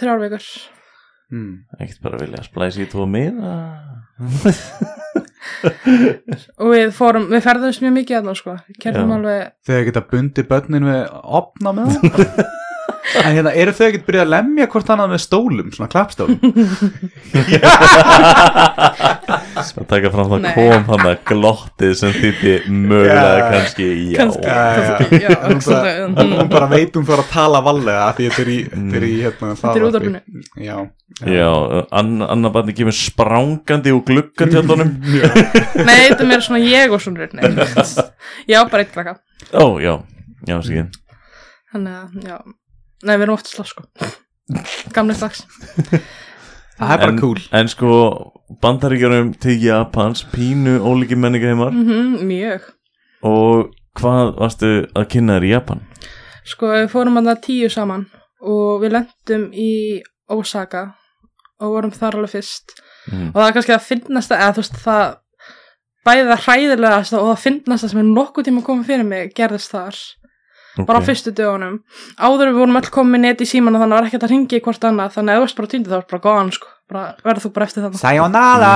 Speaker 7: þrjár vikur
Speaker 3: Hmm.
Speaker 2: Ekkert bara vilja að splæsi í tvo miða
Speaker 7: og við fórum, við ferðumst mjög mikið aðna sko kertum
Speaker 2: Já.
Speaker 7: alveg,
Speaker 3: Þegar geta bundið börnin við opna með það? En hérna, eru þau ekkert byrjað að lemja hvort annað með stólum, svona
Speaker 7: [LAUGHS]
Speaker 3: klappstólum?
Speaker 2: Að taka fram það
Speaker 7: Nei.
Speaker 2: kom hann að glottið sem þýtti mögulega kannski já
Speaker 7: kannski kannski, já,
Speaker 3: Hún bara,
Speaker 7: hugsanlega,
Speaker 3: hún
Speaker 7: mhm.
Speaker 3: bara veit hún fyrir að tala vallega af því þetta er í, þetta er í hérna,
Speaker 7: Þetta er í
Speaker 3: hlaðvarpi.
Speaker 7: útvarpinu.
Speaker 3: Já.
Speaker 2: Já, ann, annar barni kemur sprangandi úr gluggatjöldunum
Speaker 3: Mm.
Speaker 7: hmm. nei, þetta er meira svona ég og svona nei, þú
Speaker 2: [LAUGHS]
Speaker 7: veist. já, bara eitt krakka
Speaker 2: Ó, já, já, sikið
Speaker 7: þannig að, já, nei, við erum oft að slá sko gamlega slags
Speaker 3: Það er bara
Speaker 2: en,
Speaker 3: cool.
Speaker 2: En sko, bandaríkjarum til Japans pínu ólíki menningaheimar
Speaker 7: mm Mhm, mjög
Speaker 2: Og hvað varstu að kynna þér í Japan?
Speaker 7: Sko, við fórum að það tíu saman og við lendum í Osaka og vorum þar alveg fyrst
Speaker 2: Mm.
Speaker 7: og það er kannski að finnast að, eða þú veist, það bæði það hræðilegast og það finnast að sem er nokkuð tíma að koma fyrir mig gerðist þar,
Speaker 2: [LAUGHS]
Speaker 7: bara á fyrstu dögunum áður en við vorum öll komið með net í síman og þannig var ekkert að ringi í hvort annað þannig að ef þú veist bara týndi þá er bara góðan sko bara, verður þú bara eftir þarna
Speaker 3: Sayonara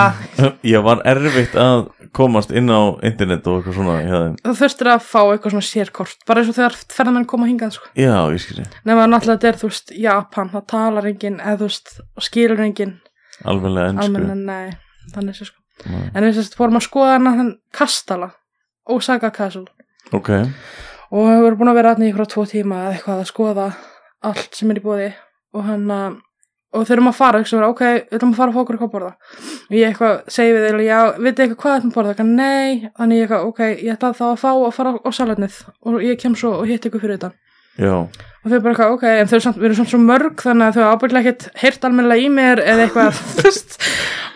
Speaker 2: Ég var erfitt að komast inn á internet og eitthvað svona hjá þeim.
Speaker 7: þú þurftir að fá eitthvað svona sérkort bara eins og þegar ferðamenn koma hingað sko
Speaker 2: Já, ég skilji,
Speaker 7: nema náttúrulega þetta er þú veist Japan það talar enginn eða þú veist og skilur enginn
Speaker 2: alveglega ennsku
Speaker 7: almenna nei þannig sé sko
Speaker 2: Nei.
Speaker 7: en við sérst fórum að skoða hana hann kastala Osaka Castle
Speaker 2: Ok,
Speaker 7: og við vorum búin að vera aðni í ykkur tvo tíma eða eitthvað að skoða allt sem er í bóði og hann að og þurfum að fara, hugsa mér, ok, við ætlum að fara að fá okkur eitthvað að borða. Og ég eitthvað segi við þeirra, já, vitið eitthvað hvað þetta að borða, eitthvað nei, þannig ég eitthvað, ok, ég ætla þá að fá að fara á salatnið og ég kem svo og hitt ykkur fyrir þetta.
Speaker 2: já
Speaker 7: Og þau bara eitthvað, ok, en þau eru samt, við erum samt svo mörg þannig að þau hafa ábyggilega ekkert heyrt almennilega í mér eða eitthvað, [LAUGHS] þú veist,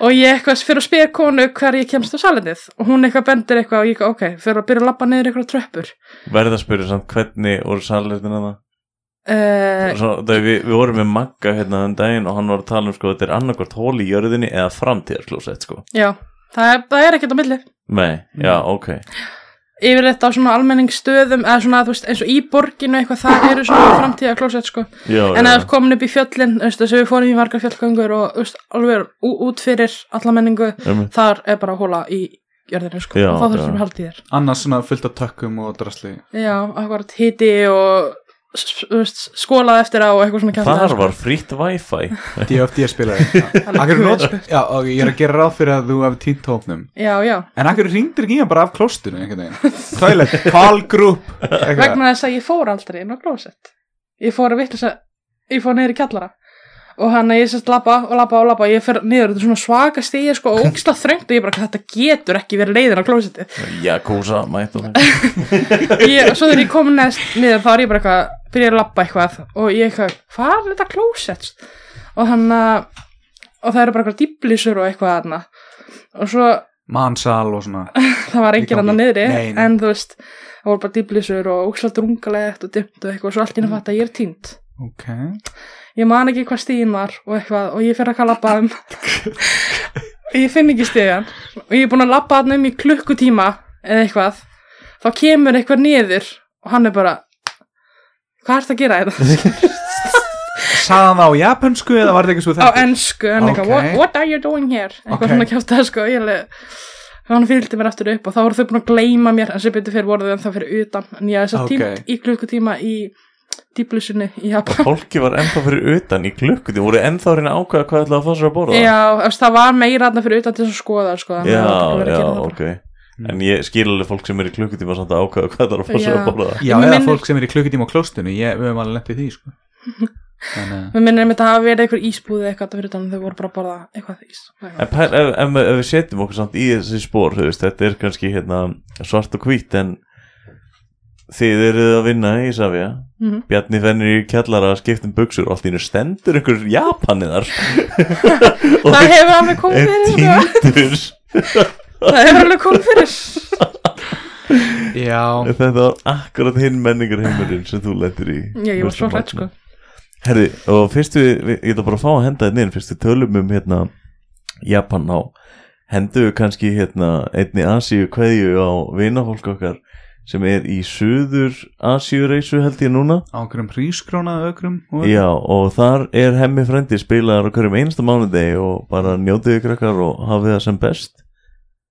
Speaker 7: og ég eitthvað fyrir að spyr konu hver ég kemst á salinið og hún eitthvað bendir eitthvað og ég eitthvað, ok, fyrir að byrja að labba neyður eitthvað tröppur.
Speaker 2: Verða að spyrja samt hvernig voru salirinn að
Speaker 7: Uh,
Speaker 2: Svo, það, við, við vorum með Magga hérna um daginn og hann var að tala um sko þetta er annarkvort hól í jörðinni eða framtíðarklósett sko
Speaker 7: já, það er, það er ekkert á milli.
Speaker 2: Nei, já,
Speaker 7: Mm.
Speaker 2: ok
Speaker 7: Yfirleitt á svona almenningsstöðum eða svona, þú veist, eins og í borginu eitthvað, það eru svona framtíða sko.
Speaker 2: já,
Speaker 7: En
Speaker 2: Ah. já,
Speaker 7: að komin upp í fjöllin, þú veist, þess að við fórum í margar fjallgöngur og, þú veist, alveg ú- út fyrir alla menningu,
Speaker 2: einmitt.
Speaker 7: þar er bara hóla í jörðinu, sko.
Speaker 2: Já,
Speaker 7: og þá
Speaker 2: já.
Speaker 7: þurfum við haldið þér.
Speaker 3: Annars svona fullt af tökkum og drasli
Speaker 7: Já, akkurat hiti og s- s- þú veist, skolaði eftir á og eitthvað svona kjaftaði,
Speaker 2: Þar
Speaker 7: sko.
Speaker 2: var frítt wifi
Speaker 3: DFD spilaði hérna. Akkur not Já, og ég er að gera ráð fyrir að þú hafi týnt hópnum
Speaker 7: Já, já,
Speaker 3: En akkur ringdir ekki í hann bara af klóstinu einhvern veginn Toilet, call group eitthvað.
Speaker 7: vegna þess að ég fór aldrei inn á klósett Ég fór að vitlis ég fór niður í kjallara og hann að ég sérst labba og labba og labba ég fer niður, þetta er svona svaka stíð sko, og ógsta þröngt og ég bara, þetta getur ekki verið leiðin á klósetti
Speaker 2: Jakúsa, mætt og
Speaker 7: ég, svo þegar ég kom neðst niður þá er ég bara eitthvað byrja að labba eitthvað og ég eitthvað, hvað er þetta klósett og hann að og það eru bara eitthvað dýblisur og eitthvað þarna og svo
Speaker 3: Mansal og svona
Speaker 7: það var
Speaker 3: Í
Speaker 7: enginn
Speaker 3: gangi.
Speaker 7: annar niðri
Speaker 3: Nei, nei.
Speaker 7: en þú veist, það voru bara dýblisur og úkslega drungalegt og dimmt og eitthvað og svo allt inn að fatta að ég er týnd
Speaker 3: Ok
Speaker 7: ég man ekki hvað stíðin var og eitthvað og ég fer að kalabba um ég finn ekki stíðan og ég er búin að labba hann um í klukkutíma eða eitthvað, þá kemur eitthvað niður og hann er bara hvað ert að gera hérna?"
Speaker 3: [LAUGHS]
Speaker 7: þetta
Speaker 3: Saðan það á japansku eða var þetta ekki svo
Speaker 7: á
Speaker 3: þetta?
Speaker 7: ennsku, hann er eitthvað,
Speaker 3: Ok.
Speaker 7: what, what are you doing here eitthvað
Speaker 3: Ok.
Speaker 7: svona kjátt að sko ég alveg hann fylgdi mér aftur upp og þá voru þau búin að gleyma mér en sem betur fyrir voru þau en það fyrir utan en ég hafði þess
Speaker 3: Ok.
Speaker 7: að týmt í klukkutíma í dýblusunni í Japan
Speaker 2: Fólki var ennþá fyrir utan í klukku Þið voru ennþá að reyna að ákveða hvað ætlaði að fá sér að borða
Speaker 7: Já, þú veist, það var meira þarna fyrir utan til þess að skoða sko, þannig
Speaker 2: já,
Speaker 7: að það var ekki verið að
Speaker 2: já,
Speaker 7: gera það bara.
Speaker 2: ok En ég skil alveg fólk sem er í klukkutíma samt að ákveða hvað það er að fá sér
Speaker 7: Já.
Speaker 2: að borða
Speaker 3: Já,
Speaker 7: Mér
Speaker 3: eða
Speaker 7: minnir-
Speaker 3: fólk sem er í klukkutíma á klóstinu ég, Við höfum alveg lent í því
Speaker 7: [LAUGHS]
Speaker 3: sko. en, uh,
Speaker 7: Mér minnir einmitt að hafa verið einhver ísbúði eitthvað þarna fyrir utan þau voru bara að borða eitthvað ís
Speaker 2: En pæl, ef, ef, ef við setjum okkur samt í þessi spór þú veist, þetta er kannski hérna, svart og hvít en þið eruð að vinna í Savia
Speaker 7: Mhm.
Speaker 2: Bjarni fennir í kjallara að skipta um buksur og allt í hennu stendur einhver
Speaker 7: [LAUGHS]
Speaker 2: japaniðar og
Speaker 7: Það hefur alveg komið
Speaker 2: er
Speaker 7: fyrir sko.
Speaker 2: týndur
Speaker 7: Það hefur alveg komið [LAUGHS] fyrir
Speaker 3: Já,
Speaker 2: þetta var akkurat hinn menningar heimurinn sem þú lendir í
Speaker 7: Já, ég var svo hrætt sko
Speaker 2: Herði, og fyrst við, við ég ætla bara að fá að henda þetta inn, fyrst við tölum um hérna Japan á hendu við kannski hérna einni Asíu kveðju á vinafólk okkar sem er í suður Asíu reysu held ég núna
Speaker 3: á einhverjum prískróna ökrum og-
Speaker 2: Já, og þar er hemmi frendi spilaðar á hverjum einasta mánudegi og bara njótið ykkur okkar og hafið það sem best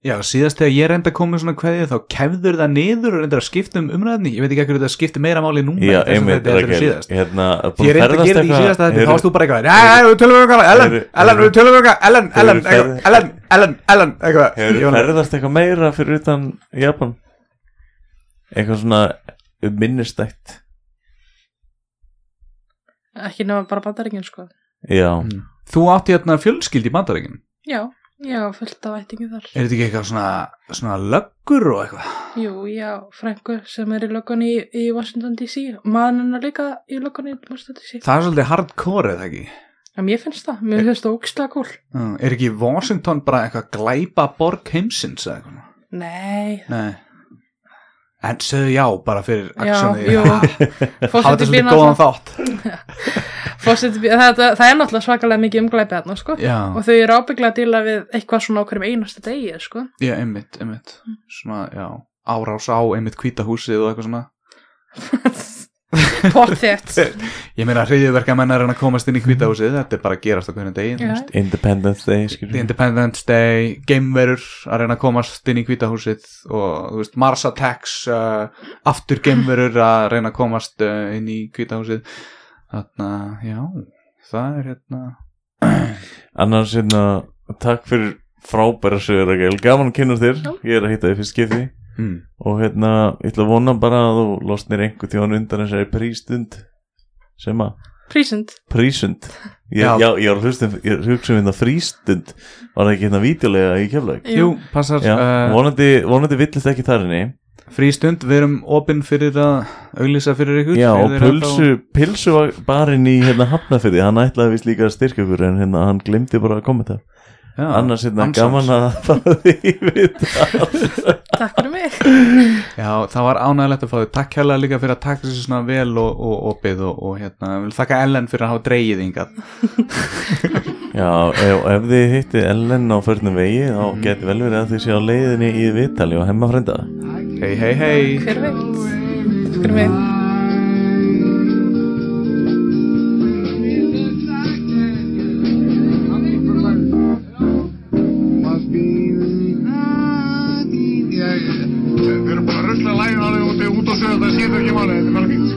Speaker 3: Já, síðast þegar ég reynda að koma með svona kveðið þá kefður það niður og reynda að skipta um umræðni ég veit ekki ekkur þetta skiptir meira máli núna
Speaker 2: Já,
Speaker 3: í þessum
Speaker 2: einmitt,
Speaker 3: þætti heldur en
Speaker 2: Rakel,
Speaker 3: síðast
Speaker 2: hérna búin
Speaker 3: Ég reynda að gera þetta í síðasta þetta þá varst þú bara eitthvað "Jæja, jæja, við tölum um eitthvað, Ellen,
Speaker 2: Hefurðu-
Speaker 3: Ellen, við tölum um eitthvað, Ellen,
Speaker 2: Hefurðu
Speaker 3: Ellen, eitthvað,
Speaker 2: ferð-
Speaker 3: Ellen, Ellen, Ellen, eitthvað
Speaker 2: Hefur
Speaker 3: Ég var-
Speaker 2: ferðast eitthvað meira fyrir utan Japan? Eitthvað svona minnistætt
Speaker 7: sko. Ekki nema bara bandaríkin sko
Speaker 2: Já,
Speaker 3: Mm. Þú átti hérna fjölskyld í bandaríkin
Speaker 7: Já, já, fullt af ættingu þar
Speaker 3: Er þetta ekki eitthvað svona, svona löggur og eitthvað?
Speaker 7: Jú, já, frængu sem er í löggunni í, í Washington DC Maðurinn er líka í löggunni í Washington DC
Speaker 3: Það Eh. er svolítið hardcore eða ekki?
Speaker 7: Já, mér finnst það, mér finnst það ógislega kúl
Speaker 3: Uh, Er ekki Washington bara eitthvað glæpa borg heimsins eða eitthvað?
Speaker 7: Nei,
Speaker 3: Nei En sögðu já bara fyrir
Speaker 7: Já,
Speaker 3: actionið.
Speaker 7: jú.
Speaker 3: [LAUGHS] Eh, Hafa þetta svolítið góðan þátt.
Speaker 7: [LAUGHS] Fórseti, það, það, það er náttúrulega svakalega mikið umglæpið þarna, sko.
Speaker 3: Já,
Speaker 7: Og þau eru ábygglega að díla við eitthvað svona á hverjum einasta degi, sko.
Speaker 3: já, einmitt, einmitt.
Speaker 7: Mm.
Speaker 3: Svona, já, árás á einmitt kvítahúsið og eitthvað svona.
Speaker 7: [LAUGHS] Pott þett.
Speaker 3: Ég meina hriðiverka menn er hann að komast
Speaker 2: Mhm.
Speaker 3: inn í kvítahúsið, þetta er bara að gerast á hvernig degi. þú
Speaker 7: Já.
Speaker 3: veist.
Speaker 2: Independence Day,
Speaker 3: The
Speaker 2: skilur
Speaker 3: Independence Day, gameverur að reyna að komast inn í kvítahúsið og þú veist, Mars Attacks, uh, aftur gameverur að reyna að komast uh, inn í kvítahúsið. Þarna, já, það er hérna...
Speaker 2: Annars, hérna, takk fyrir frábæra sögur, Rakel Gaman að kynast þér,
Speaker 7: Já.
Speaker 2: ég er að hitta þér fyrst skipti
Speaker 3: Mm.
Speaker 2: Og hérna, ég ætla að vona bara að þú losnir einhver tíðan undan þessari prístund Sem að
Speaker 7: Prísund.
Speaker 2: prísund Ég,
Speaker 3: Já.
Speaker 2: já. ég var að hlusta um- ég hugsa um hérna frístund Var það ekki hérna vídeolega í keflaug?
Speaker 3: Jú, passar...
Speaker 2: Já,
Speaker 3: eh,
Speaker 2: vonandi, vonandi villist ekki þar henni
Speaker 3: frí stund, við erum opinn fyrir að auglýsa fyrir ykkur
Speaker 2: Já,
Speaker 3: Eru
Speaker 2: og
Speaker 3: þeir
Speaker 2: pulsu, pulsu var barinn í hérna hafnafyrði, hann ætlaði vist líka að styrka ykkur en hérna hann glemdi bara að koma þetta
Speaker 3: ennþá- Já,
Speaker 2: annars hérna
Speaker 3: ansans.
Speaker 2: gaman að [LAUGHS] fara því við
Speaker 7: Takk fyrir mig.
Speaker 3: Já, það var ánægilegt að fá þau Takk hérlega líka fyrir að taka þessu svona vel og, og opið og, og hérna, ég vil þakka Ellen fyrir að hafa dreigið hingað
Speaker 2: Já, ef, ef þið hitti Ellen á förnum vegi þá mm. geti vel verið að þið séu á leiðinni í viðtali og hemma frenda
Speaker 3: Hei, hei, hei
Speaker 7: Hver veit. Takk fyrir mig.
Speaker 1: Við erum bara að rusla lægin alveg út, út á söðu, það skiptir ekki máli, þetta er bara fínt.